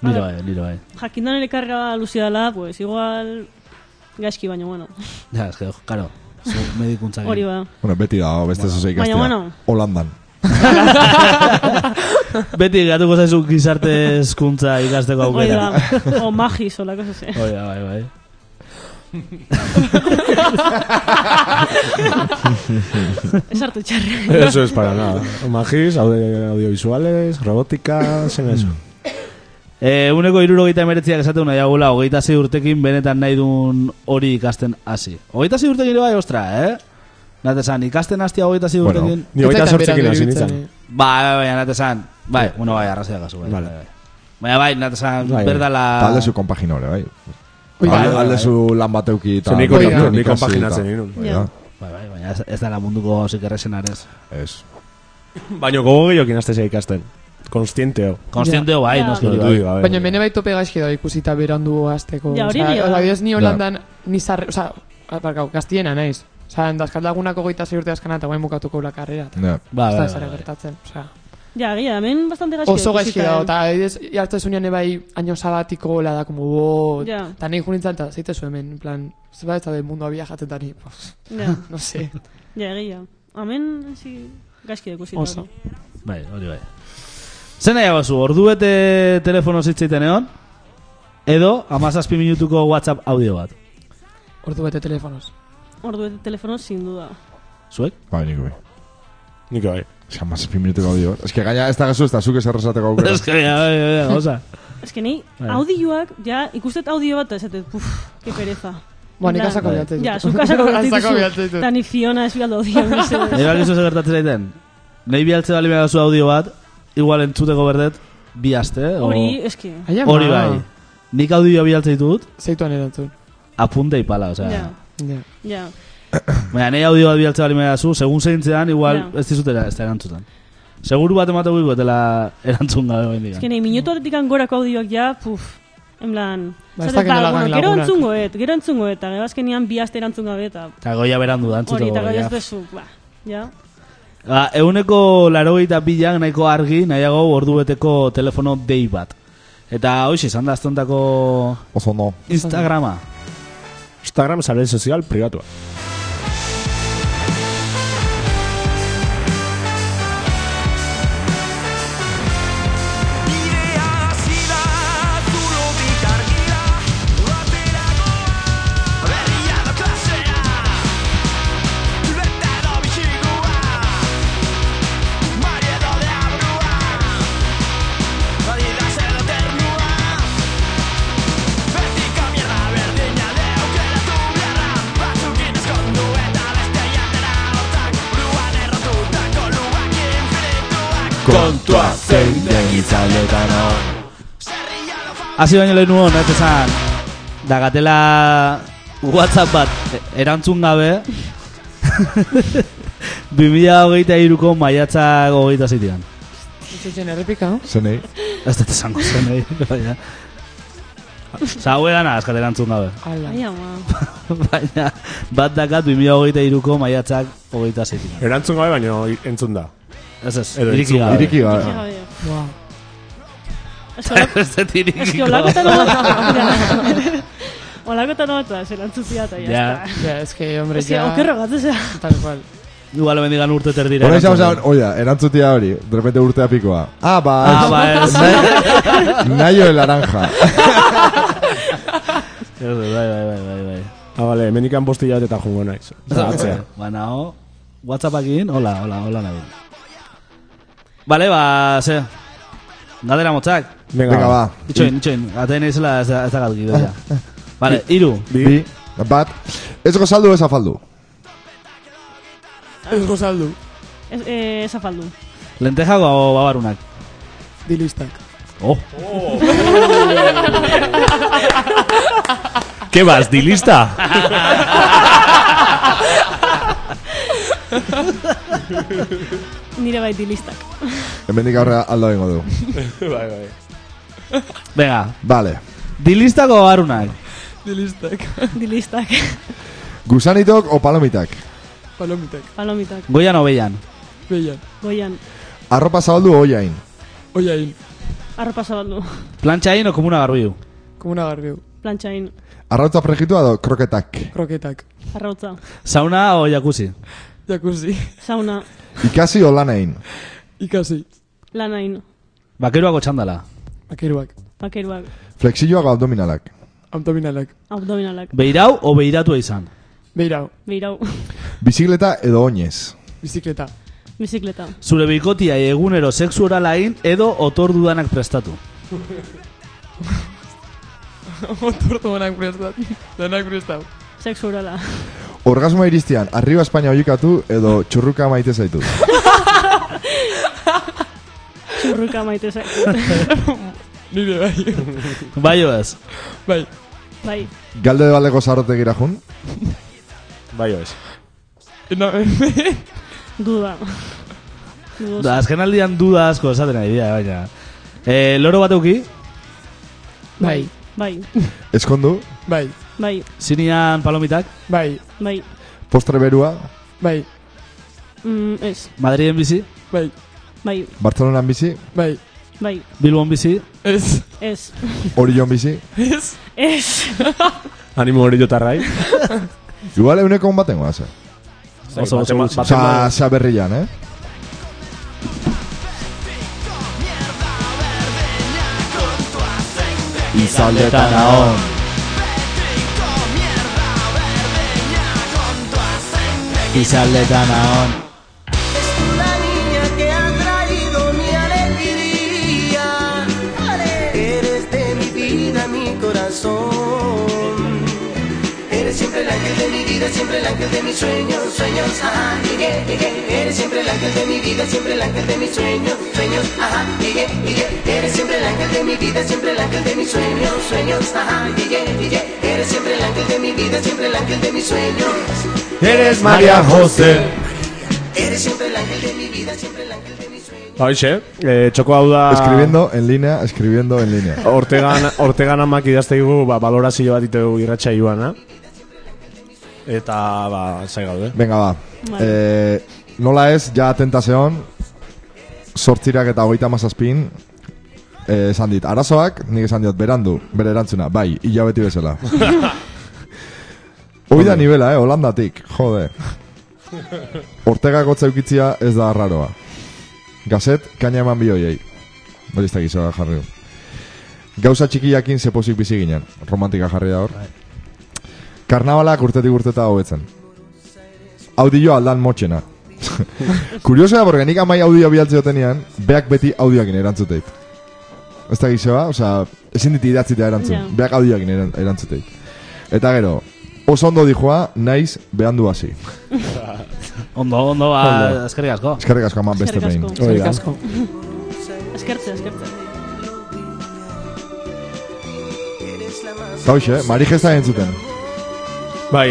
Niro bai, niro bai. Jakindan ere karga luzia dela, pues igual gaizki baino, bueno, Ja, ez que, karo, <laughs> zu medikuntzak. Bai. hori ba. Bueno, beti da, beste zozei ikastea. Baina, bueno. Holandan. Beti gatuko zaizu gizarte hezkuntza Ba, ikasteko Hori ba. aukera. da, o magis, hola, cosa ze. Hoi da, bai, bai. Ez hartu txarra. <laughs> Eso es para nada. Magis, audio- audiovisuales, robótica, zen eso. E, uneko irurogeita emeretziak esateu nahi agula, hogeita zei urtekin benetan nahi dun hori ikasten hasi. Hogeita zei urtekin ere bai, ostra, eh? Nate esan, ikasten hastia hogeita zei Bueno. urtekin... Ni hogeita Ez zaitan sortzekin berandero hasi ibiltzen, nintzen. eh. Bai, bai, bai, nate esan, bai, bueno, bai, arrazia kasu, bai, Vale. bai, bai. Baina bai, nate esan, Bai, bai. berdala... Eta alde zu kompagina hori, bai. Oi, Alde- bai, bai, Alde zu lan bateuki eta... Ze nik hori- Bai, nik ikasi konpaginatzen eta- nuen. Bai, da. Bai, bai, baina ez, ez dala munduko zikerrezen arez. Ez. Baina gogo gehiokin azte ikasten. Konstienteo. Konstienteo bai, Ja. noski hori bai. Baina, Baina mene bai tope gaizki da ikusita berandu azteko. Ja, hori Osea, egia da. adibidez, ni holandan, ni zarre, oza, barkau, gaztiena naiz. Oza, endazkat lagunako goita zei urte azkana eta guain bukatuko la karrera. Ne. Bai, Ez bai, da zara bai, bai. gertatzen, osea. Ja, egia, da, hemen bastante gaizki. Oso gaizki ikusita, dago, eh. eta adibidez, jartzen zunean ebai bai, año sabatiko gola da, como, bo, eta Ja. nahi junintzen, eta zeitezu hemen, en plan, zeba ez da del mundo abia jaten dani, pues, Ja, no sé, ja, egia. Hemen, zi, gaizki ikusita. oso. Bai, hori bai. Zer nahiago zu, orduete telefono zitzaiten egon, edo amazazpi minutuko WhatsApp audio bat. Ordu bete telefonos. Ordu eta telefono, sin duda. Zuek? Bai, nik bai. Nik bai. Osea, mazazpi minuteko audio. Ez que gaina ez da gezu ez da zuk ez errezateko aukera. Ez que, ja, ja, ja, oza. Ez que nahi, Bai. audioak, ja, ikustet audio bat, ez dut, puf, Ah. que pereza. Ba, nik Bai. Da. asako bilatzen Ja, zuk <laughs> asako bilatzen Asako bilatzen dituzu. ditut. Eta ni Fiona ez bialdu audio, <laughs> mesedez. Nei bakizu zer gertatzen zaiten. Nei bialtze bali behar zu audio bat, igual entzuteko berdet, bi aste, o... Oh. Hori, Ah. ez que, Aia, ma. Hori bai. Nik audioa bialtze ditut, Zeituan erantzun. apunta ipala, osea. ja, Ja. ja. Baina, nei audio bat bialtze bali behar zu, segun zeintzean, igual Ja. ez dizutela, ez da erantzutan. Seguru bat emateko ikotela erantzun gabe bain Ez que nahi, minutu horretik gorako audioak ja, puf, en plan... Ba, ez esaten, dakit nola bueno, gain gero lagunak. entzungo et, gero entzungo et, eta gero azkenian bi aste erantzun gabe, eta Eta goia berandu da, hori, entzuteko. eta gero ja. ez dezu, ba, ja. Ba, euneko laro pilak nahiko argi, nahiago ordubeteko telefono dei bat. Eta hoxe, izan da aztontako Oso no. Instagrama. Instagram sare sozial pribatua. Nirea azida, zulotik argira, bateragoa, berria da klasea, leta da bitxikua, mari edo de abrua, badira zer eternua, betika mierda berdina leukeratu beharra, Kontua zein den itzaletan hau Hasi baino lehen nuon, ez esan Dagatela Whatsapp bat e- erantzun <laughs> gabe <laughs> 2023 iruko maiatzak hogeita zitian Ez dutzen errepika, no? Zenei. Ez dut esango zen egin <laughs> Baina Zaue dana askat erantzun gabe Ala. Ai, ama. <laughs> Baina bat dakat 2023 iruko maiatzak hogeita zitian Erantzun gabe baino entzun da. Ez ez, Edo iriki entzun gabe Iriki Itxi ba. gabe. Buah. Ez que hola- <laughs> Ez dut iriki Ez que gabe. olakotan <laughs> bat <laughs> Olakotan bat da, zelantzuzia eta Ja. jazta. Ja, es que, hombre, Ez que ya... okerro gatzea. Tal cual. Igual bendigan urte terdira Hora izan erantzun zen, gabe. oia, erantzutia hori, de repente urtea pikoa. Ah, ba, Ah, ba, ez naio el <laughs> naranja. Ez, bai, bai, bai, bai, bai. Ah, bale, menikan posti jat eta jungo naiz. Atzea. Baina, ho, Whatsappakin, hola, hola, hola nabil. Bale, ba, ze, dadera motzak. Venga, ba. Itxoin, itxoin, atein izela ez ez dakat gidoia. Bale, iru. Bi, bat. Ez gozaldu ez afaldu. Ez gozaldu. Ez eh, ez afaldu. Lenteja o babarunak. Dilistak. Oh, Ke bas, dilista? Nire bai <laughs> baiti listak. Hemendik aurrera alda bengo du. bai, bai. venga. Vale. Dilistako babarunak. Dilistak. Dilistak. <laughs> Gusanitok o palomitak. <laughs> Palomitak. Palomitak. Goian o beian. Beian. Goian. Arropa zabaldu oiain. Oiain. Arropa zabaldu. Plantxain o komuna garbiu. Komuna garbiu. Plantxain. Arrautza fregitua edo kroketak. Kroketak. Arrautza. Sauna o jacuzzi. Jakuzi. Sauna. Ikasi o lanain. <laughs> Ikasi. Lanain. Bakeruako txandala. Akeruak. Bakeruak. Flexioak o abdominalak. Abdominalak. Abdominalak. Beirau o beiratua izan. Beirau. Beirau. <laughs> Bizikleta edo oinez. <laughs> Bizikleta. Bizikleta. Zure bikotia egunero sexu orala egin edo otordudanak prestatu. Otortu honak prestat. Lanak prestau. Sexu urala. Orgasmoa iristean, arriba Espainia oikatu edo txurruka maite zaitu. <laughs> Txurruka maite zait. <laughs> Nire bai. Bai o ez. <laughs> Bai. Bai. Galde de baleko zarrotegira jun. Bai, oez. Ena, Duda. Dudos. Da, azken aldian duda asko esaten ari dira, baina. E, loro bat euki, bai. Bai. Eskondu, Bai. Bai. zinean palomitak, Bai. Bai. postre berua, Bai. Mm, ez. Madriden bizi, Bai. Bai. Bartzelonan bizi, Bai. Bai. Bilbon bizi, Ez. Ez. Orion bizi. Ez. Ez. Animo hori jotarrai. Igual euneko hon baten goaz, eh? oso oso gutxi. Osa, xa berrian, eh? Izaldetan ahon. Izaldetan ahon. La niña que ha traído mi alegría. Eres de mi vida, mi corazón. Eres siempre el ángel de mi vida, siempre el ángel de mis sueños, sueños, ajá, llegué, llegué. Eres siempre el ángel de mi vida, siempre el ángel de mis sueños, sueños, ajá, llegué, llegué. Eres siempre el ángel de mi vida, siempre el ángel de mis sueños, sueños, ajá, llegué, llegué. Eres siempre el ángel de mi vida, siempre el ángel de mis sueños. Eres Maria Jose. Eres siempre el ángel de mi vida, siempre el ángel de mis sueños. Hoxe, eh, txoko hau da... Escribiendo en línea, escribiendo en línea. <laughs> Ortegan, ortegan amak idazteigu, ba, balorazio bat itegu irratxa joana. Eta, ba, zai gaude. Venga, ba. Vale. Eh, nola ez, ja atenta zeon, sortzirak eta hogeita mazazpin, eh, esan dit, arazoak, nik esan diot, berandu, bere erantzuna, bai, hilabeti bezala. Hoi da nivela, eh, holandatik, jode. Ortega gotza eukitzia ez da arraroa. Gazet, kaina eman bioiei. Berista gizora jarri. du. Gauza txikiakin zepozik bizi ginen. Romantika jarri da hor. Karnabalak urtetik urteta hobetzen. Audioa aldan motxena. Kuriosoa, porque nik amai audioa bialtze dutenean, beak beti audioakin erantzuteit. Ez da gizoa, osea, ezin dit idatzita erantzun. Ja. Beak audioakin eran- erantzuteit. Eta gero, oso ondo dijoa, naiz behandu hasi. Ondo, ondo, ba, eskerrik asko. Eskerrik asko eman beste Eskerrik behin. asko. Eskerrik asko. Eskertze, eskertze. Eta hoxe, Mari Gesta entzuten. Bai,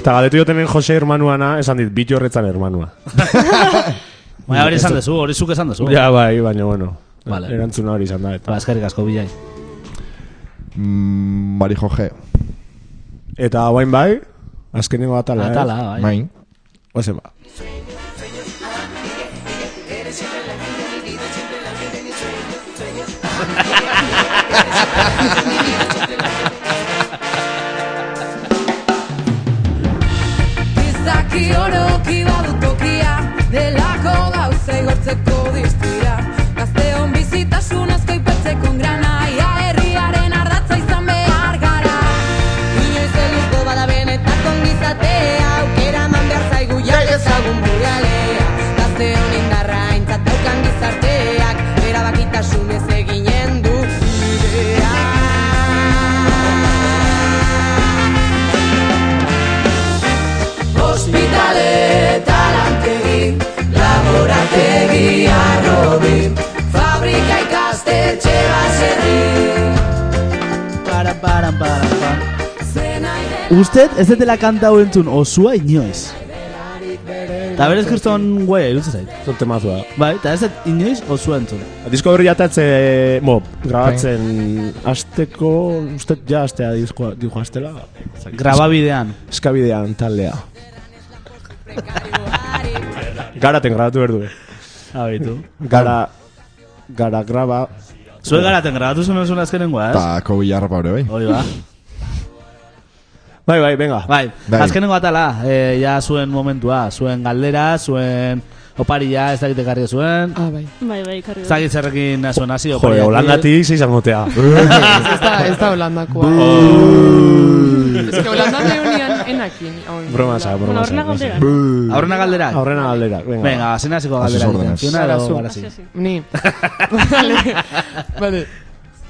eta galetu jotenen Jose hermanuana, esan dit, bit horretzan hermanua. Baina hori esan dezu, hori zuk esan dezu. Ja, bai, baina, bueno. Vale. Erantzuna hori izan da, eta. Ba, eskerrik asko bilai. Mm, Mari Joje. Eta guain bai, azkenengo atala, Atala, bai. Main. Oazen ba. Izaki oroki badu tokia Delako gauza igortzeko distira Gazteon bizitasun asko ipatzeko grana Ia herriaren ardatza izan behar gara Inoiz helduko bada benetako ongizatea Aukera man behar zaigu jatezagun buralea Gazteon indarra aintzat daukan gizarteak Erabakitasun ez eginen du bidea Ospitale eta lantegi, laborategi arrobi, fabrika ikastetxe baserri. Para, para, para, para. Zena idela Usted ez detela kanta hau entzun osua inoiz. Eta berez kriston guai irutzen zait. Zon temazua. Bai, eta ez dut inoiz osua entzun. Disko berri jatatze, mo, grabatzen Bai. asteko, uste ja astea diskoa, dijo astela. Grababidean. Eskabidean taldea. prekarioari, Garaten grabatu behar du. eh. Abitu. Gara, gara graba. Zue garaten grabatu zuen zuen azkenengoa, ez? Eta kobilarra hori bai. Hori ba. Bai, bai, venga. Bai, Bai. azkenengo atala, eh, ja zuen momentua, zuen galdera, zuen oparia, ez dakit ekarri zuen. Ah, bai. Bai, bai, karri. Ez dakit zerrekin zuen hasi Jode, oparia. holandatik ze izango tea. Ah. Ez da, ez da holandakoa. Ez que holandan leunian enakin. Broma za, Bueno, broma Bai. horrena za. galdera. Aurrena galdera. Aurrena galdera, venga. Venga, ba, zein hasiko galdera. Hasi ordenez. Ziona Zara edo zu. garazi. Hasi, Ni. <laughs> vale. vale.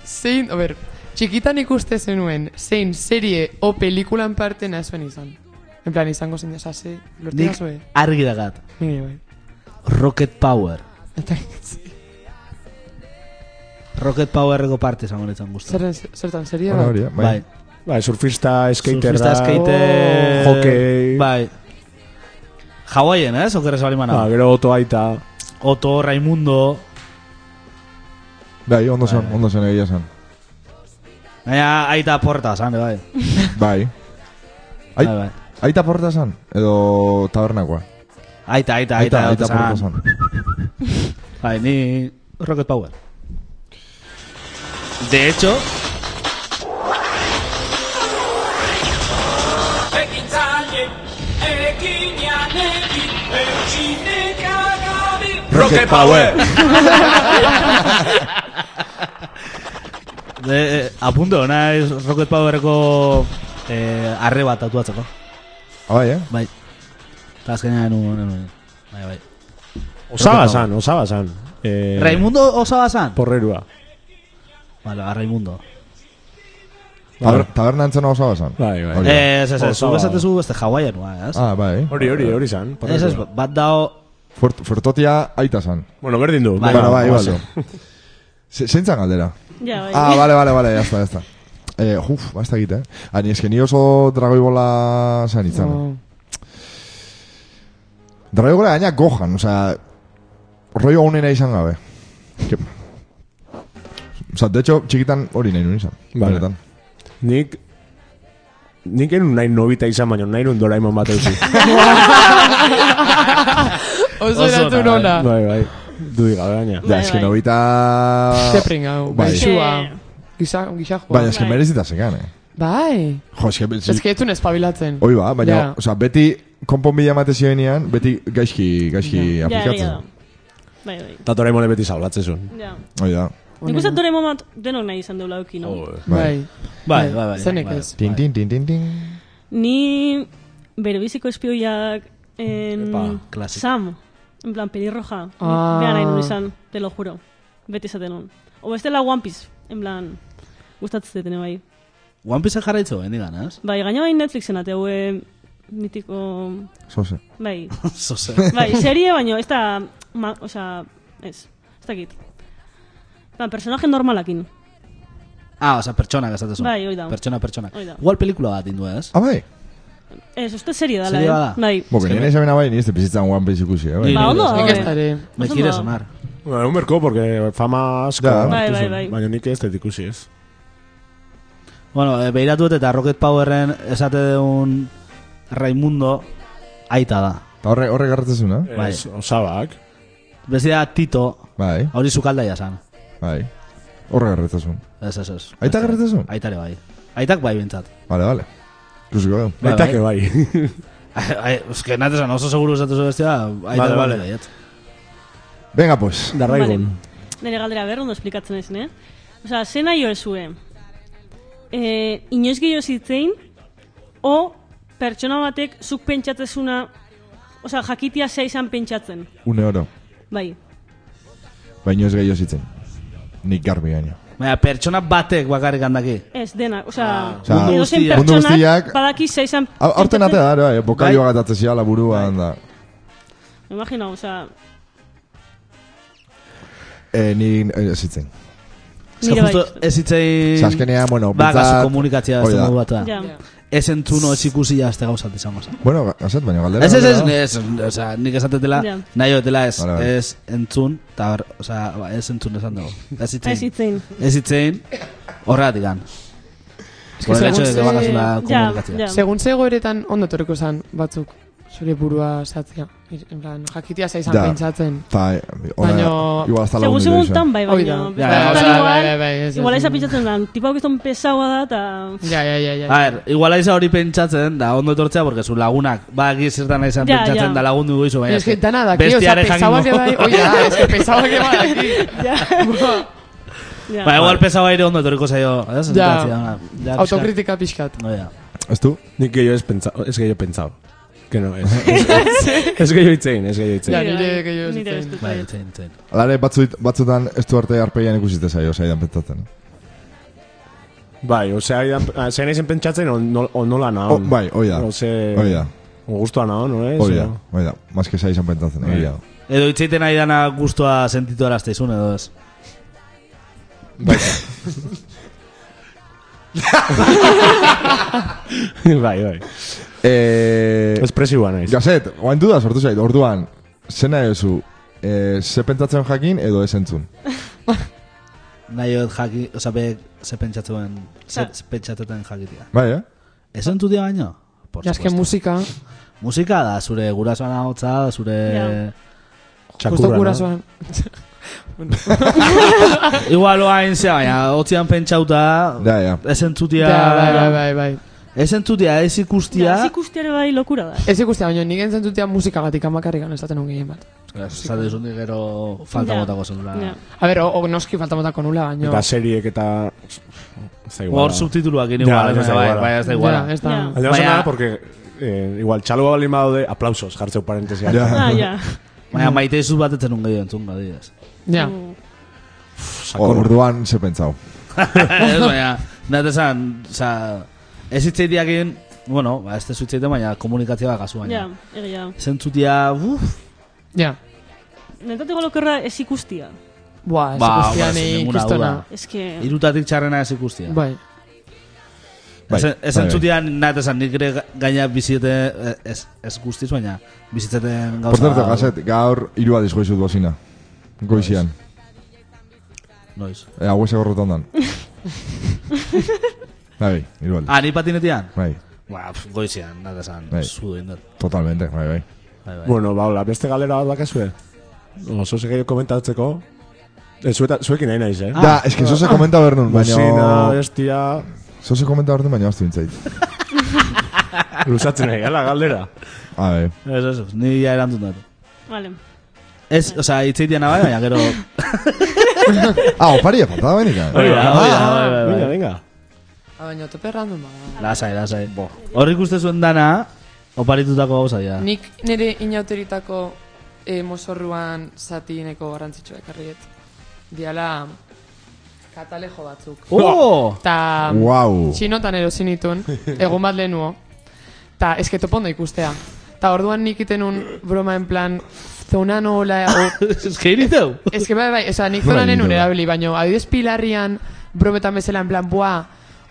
Zein, a ber, txikitan ikuste zenuen, zein serie o pelikulan parte nahi zuen izan. En plan, izango zein desase, lortu Nik nazue. argi dagat. Nire bai. Rocket Power. Eta, Rocket Powerreko parte izango nintzen gustu. zerren, zertan, serie Hori, <laughs> hori, bat? eh, bai. Bai. Bai, surfista, skater Surfista, da. skater... Hokei. Bai. Hawaiian, ez? Okerrez bali Ah, gero oto aita. Oto, Raimundo... Bai, ondo zen, ondo zen egia zen. Baina aita porta, zan, bai. Bai. Bai, Ai, bai. aita porta zen, edo tabernakoa. Aita, aita, aita, Aita, aita zan. porta zen. Bai, ni... Rocket Power. De hecho... Rocket Power! De, eh, apunto, naiz Rocket Powerreko... Eh, arre bat tatuatzeko. Bai, eh? Bai. Eta azkenean nu... nu- nu- Bai, bai. Osaba Rocket san, osaba san. Eh, Raimundo osaba zan? Porrerua. Bale, ba, Raimundo. Taber- Taberna entzena osaba zen. Bai, bai. Hori da. Eh, ez, ez, ez, zuk Osaba. esatezu beste Hawaiian, ez? Ah, bai. Hori, hori, hori san. Ez, ez, bat dao Fuert- Fuertotia aita zen. Bueno, berdin du. Bai, venga, Bueno, bai, vamos. igual. Zein zen galdera? Ja, bai. Ah, vale, vale, vale, ya está, ya está. Eh, uf, basta egite, eh? Ani, eske ni oso dragoi bola zan itzan. Oh, Dragoi bola gaina gojan, osea, rollo honena izan gabe. Que... Osa, de hecho, txikitan hori nahi nuen izan. Vale. Benetan. Nik... Nik enun nahi nobita izan, baina nahi nun Doraemon bat <laughs> eusi. Oso erantzun ona. bai, bai. Dudik gabe gaina. Ja, Bai, eske bai. nobita... Zepring hau, Bai. gaixua. Gisa, gisa joa. Baina, eske Bai. merezita zekan, eh? Bai. Jo, eske... Ez que etzun espabilatzen. Hoi ba, baina, Ja. osea, beti konponbidea mate zioenean, beti gaizki, gaizki Ja, egia aplikatzen. da. Bai, bai. Eta Doraemon beti zaulatzen zuen. Ja. Hoi da. Nik uste dore moment denok nahi izan deula eukin, no? Bai. Bai, bai, bai. Zenek bai, ez. bai. Tin, tin, tin, tin, tin. Ni berbiziko espioiak en... Epa, klasik. Sam, en plan pelirroja. Ah. Ah. Bean nahi nun izan, te lo juro. Beti esaten nun. O bestela One Piece, en plan... Gustatzen dene bai. One Piece jarraitzu, bendigan, ez? <laughs> Bai, gaina bai Netflixen ateu eh, mitiko... Zose. Bai, Zoze. bai, serie baino, ez da... Ma, o sea, ez, ez dakit. Ba, personaje normalakin. Ah, oza, pertsona gazatezu. Bai, hori da. Pertsona, pertsona. Hori da. Igual pelikula bat indu ez? Ah, bai? Ez, uste serie dala, Serie eh? bada. Bai. Bo, que nire izabena bai, nire bizitzan One Piece ikusi, eh? Bai. Ni- Ba, ondo Nik dago, Nik ez eh? dare, Me Oso quiere ondo. sonar. Bueno, un merko, Ba, porque fama asko. Ja. hartu Bai, bai, zuen. bai. Baina nik ez dut ikusi ez. Bueno, eh, behiratu dut eta Rocket Powerren esate deun Raimundo aita da. Eta Ah, horre, horre garratzezuna? Bai. Ez, osabak. Bezia Tito, Bai, hori sukaldaia zan. bai. Horre garratzezun. Ez, ez, ez. Aita garratzezun? Aitare bai. Aitak bai bintzat. <laughs> Vale, vale. Ikusiko dugu. Bai, Baitake bai. Ai, Euske, natesan oso seguru esatu zu bestia, aita bai. Vale, vale. baietz. Venga, pues. Darraigun. Nire galdera ber, ondo esplikatzen ez, ne? Osa, ze nahi zue? E, inoiz gehiago zitzein, o pertsona batek zuk pentsatzezuna, osa, jakitia zea izan pentsatzen. Une oro. Bai, Baino ez gehiago zitzen. Nik garbi gaino. Baina, pertsona batek bakarrik handaki. ez dena, osa, Osea, edozein mundu guztiak- Ah, mundu pertsonak guztiak- badaki zea izan Hau- Aurten atea pentsatzen. da, bai, bokalioa Bai. gatatzen ziala buruan da. Imagina, osa, Eh, ni eh, zitzen. Ze nire justo bai. ez hitzein... Ze azkenean, bueno, Ba, bintzat- gazo komunikatzea ez Hori da. modu bat da. Ja. Ez entzuno, ez ikusi jazte gauzat izango zen. Bueno, ga- azet, baina galdera. Ez, ez, ez, galdera. ne- ez, oza, nik esatetela, Ja. nahi hotela ez, Vale, vale. ez entzun, eta, hor, oza, ba, ez entzun esan dago. Ez Ez hitzein. hitzein. Ez hitzein, horregatik gan. que Por el segun hecho de que ze- bakazula Eh, Ja, komunikatzea. ja. Segun zegoeretan ondo etorriko zan batzuk zure burua esatzea. Ir- En plan, jakitia zea izan Da. pentsatzen. Ta, eh, ona, Baino- igual hasta Segun lagundu segun izan. tan bai, Hoi da. baina. Ja, ja, batzuetan osea, bai, igual- bai, bai, ez, ez, Igual ez. eza pentsatzen da, tipa keston pesaua da, eta... Ja, ja, ja, A ja. ver, igual aiza hori pentsatzen, da ondo etortzea, porque zu lagunak, ba, egi zertan aizan Ja, pentsatzen, ja. da lagundu goizu, baina... Es que dana daki, o sea, bestiaren pensaba que jakingo. bai, oye, da, es que pensaba que bai aquí. <laughs> Ja. <laughs> Bai, Ba, igual pesaba ere ondo etorriko zaio, ez? Ja. Entzatzea, ona, ja, Autokritika pixkat. pixka. No, ja. Ez du? Nik gehiago ez pentsau. Ez gehiago pentsau. Que no, ez. Ez- Ez gehiago itzein, ez gehiago Ja, itzein. nire gehiago ez Nire zitzaien. ez dut, Bai, bai. etzein, etzein. Alare batzuit, batzutan ez du arte arpeian ikusite zaio, zaidan pentsatzen. Bai, osea, aidan- zein izen pentsatzen on- nol- on nola Oh, naon. bai, hoi da. Eh, Ose... Hoi da, Gustoa naon, no, ez? hoi da, hoi da. Oh, Más que zaizan pentsatzen, hoi da. Edo itzeiten ari dana guztua sentitu arazteizun, edo ez? <laughs> bai, bai. Eh, Espresiboa naiz. Gazet, oain duda sortu zait, orduan, zena ezu, eh, ze pentsatzen jakin edo ez entzun. Nahi hot jaki, oza, be, ze pentsatzen, ze, Ja. ze pentsatzen jakitia. Bai, eh? Ez entzutia baino? Por Ja, es que supuesto. musika, Musika da, zure gurasoan ahotza, zure... Ja. justo no? gurasoan. Igual oain zea, baina, hotzian pentsauta, Da, ja. ez entzutia... Ja, bai, bai, bai, bai. Ez entzutia, ez Ja, ikustia... ez ikusteare bai lokura da. Ez ikustea, baina nik entzentutea musikatik amakarrik gano esaten ongien bat. Zate zunik gero falta Ja. botako zelula. Ja. A ber, o, o noski falta botako nula, baina... Eta seriek eta... Ez da igual. Hor subtituluak egin igual, Ja, ez ez da da bai, iguala. bai, ez da Ja, igual. ez da... Ja. Baina Baina- oso nada, porque... Eh, igual, txalo balin badaude, aplausos, jartzeu parentesiak. Ja. Ah, ja. Baina maite izu bat etzen un gehiago entzun, gadiaz. <laughs> Ja, Orduan ze pentsau. Ez, baina, nat esan, oza, ez hitzeitiak egin, bueno, ba, ez tezu hitzeiten, baina komunikazioa gazu Ja, baina. egia. Zentzutia, uff, ja. Nentateko lokerra ez ikustia. Buah, ez Ba, ba, ikustea sin nahi ninguna kristona. duda. Ez que... irutatik txarrena ez ikustia. Bai, Bai, Ez- Ez bai, entzutia, nat esan, nik ere gaina biziete, eh, ez, ez guztiz, baina bizitzeten Por gauza... cierto, Gazet, gaur irua dizgoizut bozina. Goizian. Noiz. Eh, hau eze gorrotan <laughs> dan. Bai, hiru aldiz. Ah, ni patinetian? Bai, Ba, pf, goizian, nat esan, Bai. zu egin dut. totalmente, bai, bai. Bai, bai. Bueno, ba, hola, beste galera bat bakazue. Oso zegeio komentatzeko. Eh, zueta, zuekin nahi naiz, eh? Ah, eh. Da, eske zoze komenta behar nun, Musina, baina... bestia... Zoze komenta behar nun, baina aztu intzait. <laughs> Luzatzen nahi, ala, galdera. A bai. Ez, ez, ez, ni ja erantzun dut. Vale. Ez, oza, itzeitia nabai, baina gero... Ah, oparia, falta benik. eh? Oida, oida, <laughs> bai, bai, bai. Venga, venga. Ah, baina tope random ba. Lasai, lasai. Hor ikuste zuen dana, oparitutako gauza dira. Nik nire inauterutako eh, mozorruan zatineko garrantzitsua ekarriet. Diala katalejo batzuk. Oh! <laughs> Ta Guau. txinotan erosi nituen, egun bat lehenuo. Ta eske topondo ikustea. Ta orduan nik itenun broma en plan zonan hola... <laughs> O, Eskaini dau. Ez que bai, bai, oza, nik zonanen Baina. unerabili, baino, adidez pilarrian, brometan bezala, en plan, buah,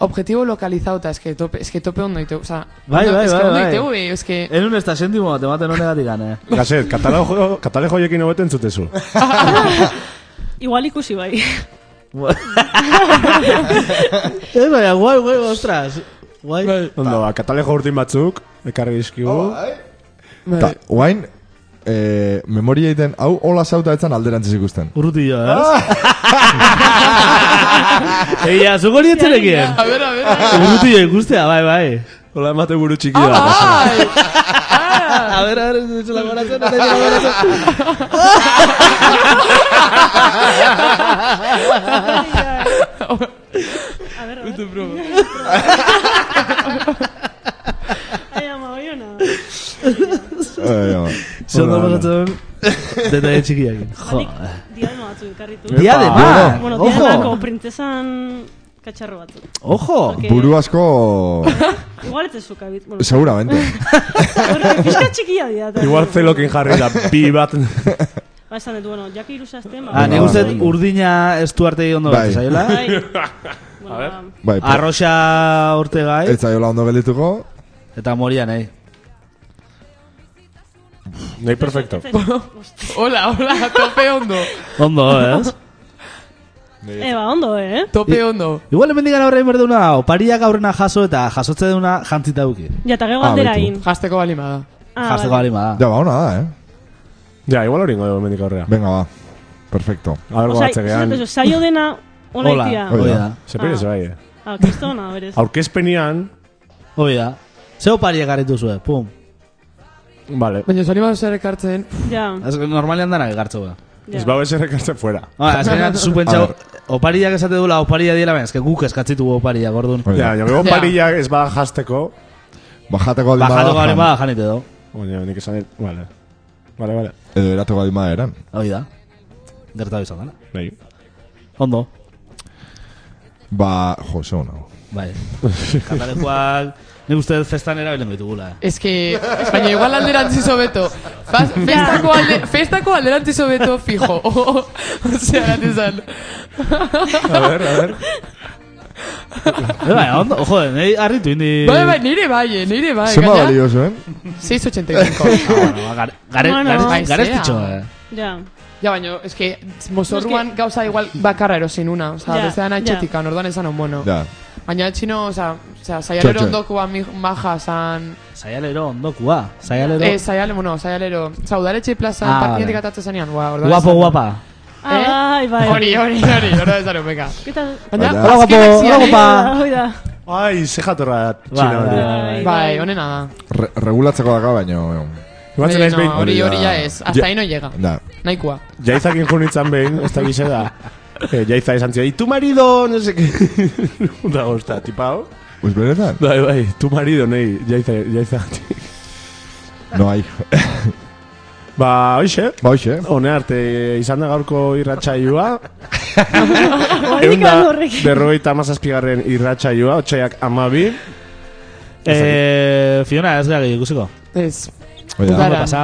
objetivo localizauta, es que tope, es que tope ondo ite, oza, Bai, bai, es que bai, ondo bai. iteu, eh, es que, En un estasentimo bat ematen honegatik gane. Gazet, katalejo, katalejoiekin hobeten zutezu. Igual ikusi <laughs> bai. Eh, baina, guai, guai, ostras. Guai. Ondo, ba, katalejo urtin batzuk, ekarri dizkigu. Bai. Ta, oain, eh, memoria egiten, hau hola zauta etzan alderantziz ikusten. Urrutillo, ez? ¿eh? <laughs> Eia, zuk hori etzerekien. a ver, a ver, a Urrutillo ikustea, bai, bai. Hola, emate buru txiki da. ver, A ver, a ver, ez dut laboratzen, ez dut laboratzen. Ai, ama, bai oi ona. Eh, Ah. ja. Zondo pasatzen, detaile txikiak. Jo. Batik diadema batzuk ekarritu. Dia de mar. Bueno, Ojo, Ah, diademako printzesan katxarro batzuk. ojo. Porque Buru <laughs> asko, Igual ez zuka bit. Bueno, seguramente. horre, pixka txekia dira. eta- Igual zelokin jarri da, bi bat. Ba, esan dut, bueno, jaki irusa azten. Ah, nik uste dut urdina ez du arte ondo Bai. bat zaiola. Bai. Bueno, ba, Bai, pro- Arroxa ortegai ez zaiola ondo geldituko. eta moria nahi. Nei, ah, perfecto. <laughs> hola, hola, tope ondo, Ondo, <laughs> ez? Eh, ba, ondo, eh? tope ondo, Igual emendikan aurrein berduna da, opariak aurrena jaso eta jasotze duna jantzita duki. Ja, eta gero Ah, galdera beti. egin. jasteko balimada. Ah, Jasteko vale. bali bada. Ja, ba, ona da, eh? Ja, igual hori ingo dugu mendik aurrea. Venga, ba. Perfecto. A ver, Osea, gogatzegean. esan dut, saio dena hola Hola, itia. Hoi hoi da. da. Zepire ze Ah. bai, eh. Ah, kristona, berez. Aurkezpenian, Hoi da. Ze opariak harritu zuen, pum. vale. Baina, zoni bat zer ekartzen, Ja, Ez, normalean dana egartzu da. Ez ja. bau ez errekartzen fuera. Ba, <laughs> azkenean A zupentsau, ver. opariak esate dula oparia diela, baina, eske guk eskatzitugu opariak, orduan. Hoi Ja, da. jo gero Ja. parillak ez bada jasteko. Bajateko aldima Bajatuko da, garen jan. bada janite do. Baina, nik esan, dut, vale. Vale, vale. Edo eratuko aldima da, eran. Hoi da. Dertatu izan dana. Nei. Ondo. Ba, jo, ze hona. Bai. <laughs> Katalekoak, nik uste dut festan erabilen ditugula. eh. Es que, baina igual alderantziz hobeto. <laughs> Faz- Festako, alde, festako alderantziz hobeto fijo. <laughs> Osea, gatizan. A ver, a ver. Eh, Bai, ondo, ojo, nahi harritu indi... Bai, bai, nire bai, eh, nire bai. Zenba eh? gaina, balio zuen? 6.85. Bueno, ba, Bueno. bai, gare, garestitxo, Haizea. eh. Ja. Ja, baino, es que mozorruan gauza igual bakarra erosin una. Osa, Ja, yeah, bestean ja. haitxetika, yeah. orduan esan hon, bueno. Da. Baina txino, osa, osa saialero Txo, txo. ondokoa mi- maja san... Saialero ondokua. Saialero... Eh, saialero, bueno, saialero... Osa, udaletxe plaza, Ah, ah, partidetik vale. atatzen zanean. Ua, orduan Guapo, esan- guapa. Eh? Ah, bai, bai. Hori, hori, hori, orduan esan hon, beka. Eta, Baina, Hola, Hola, guapo, azkenak hola, zian, eh? guapa. hoi da. Ai, ze jatorra Ba, txina hori. Bai, honena da. Re regulatzeko daka, baino... Batzen Eh, naiz no, behin, Hori, Hori da. hori ja ez. Hasta Ja. ahí no llega. Da. Nahikoa. jaizakin junitzen behin, ez da gize da. Eh, jaiza esan zidan, "Y tu marido, no sé qué. <laughs> da gozta, tipao. Uz benetan? Bai, bai, tu marido, nei, jaiza, jaiza. No, hai. Ba, hoxe, <laughs> Ba, hoxe. Hone arte izan da gaurko <laughs> irratsaioa. Horrika Eunda horrek. berrogeita amazazpigarren irratsaioa, otxaiak <laughs> amabi. Eh, Fiona, ez gara ikusiko. Ez. Oida. Udara. Ondo pasa.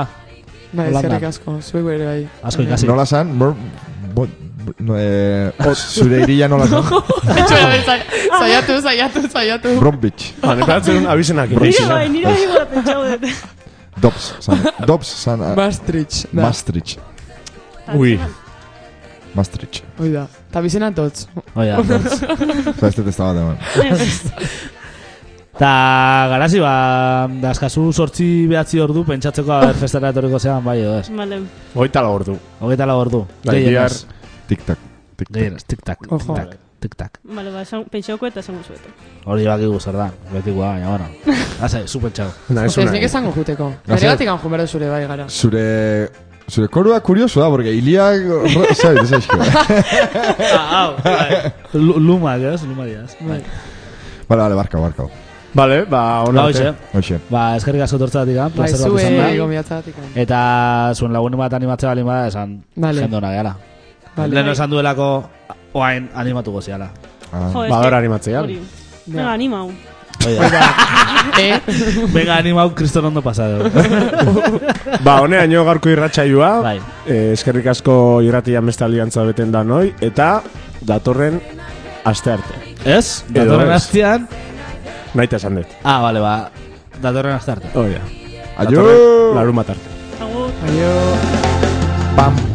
Bai, Holandan. eskerrik asko. Zuek bere bai. <laughs> Asko ikasi. Nola san? Mor... Bo... bo- No, eh, zure irila nola san? Itxoa, bai, sai- saiatu, saiatu, saiatu. Brombitch. Ba, nepatzen abizenak. Nire bai, nire bai gola pentsau dut. Dobbs san. Dobbs san. Maastricht. da. Maastricht. Ui. Maastricht. Hoi da. Ta bizena tots. Oia. <laughs> Osa, ez dut ez da bat eman. Ta garazi ba, daskazu sortzi behatzi ordu pentsatzeko aber festara etorriko zean, bai, edo ez. Vale. Hogeita la ordu. Hogeita lau ordu. Bai, bihar. Gehienez, Tik-tak. Tik-tak. gehienez, tik-tak, Ojo. tik-tak, tik-tak. Vale, ba, esan- pentsauko eta esango zuetan. Hori bakigu zer da, beti gua, baina, <laughs> bueno. Azai, zupen txau. Na, ez Ez una. nik esango juteko. Gracias. Beregatik anjun berde zure bai gara. Zure... Zure korua kurioso da, porque iliak... ro- Zait, ez eixko. Ah, hau, Luma, ez? Luma diaz. Bai. Bale, bale, barkau, barkau. Vale, ba, hona Ba, arte. hoxe. Hoxe. Ba, eskerrik asko tortzadatik, han, Bai, placer bat zue izan da. gomiatzagatik. Eta zuen lagunen bat animatzea balin bada, esan Vale. jende ona gehala. Vale. Lehen esan duelako, oain animatuko ziala. Ah. Jo, Ba, eske- hor animatzean. Hori. Venga, animau. <laughs> Eh? Venga, animau kriston ondo pasado. Ba, honeaino gaurko irratsaioa. Bai. Eh, eskerrik asko irratia mestaliantza beten da noi eta datorren aste arte. Ez? Edo Datorren ez. hastian. Naita esan dut. Ah, vale, ba. Datorren astarte. Oia. Aio! Larun bat arte. Agur. Aio. Pam,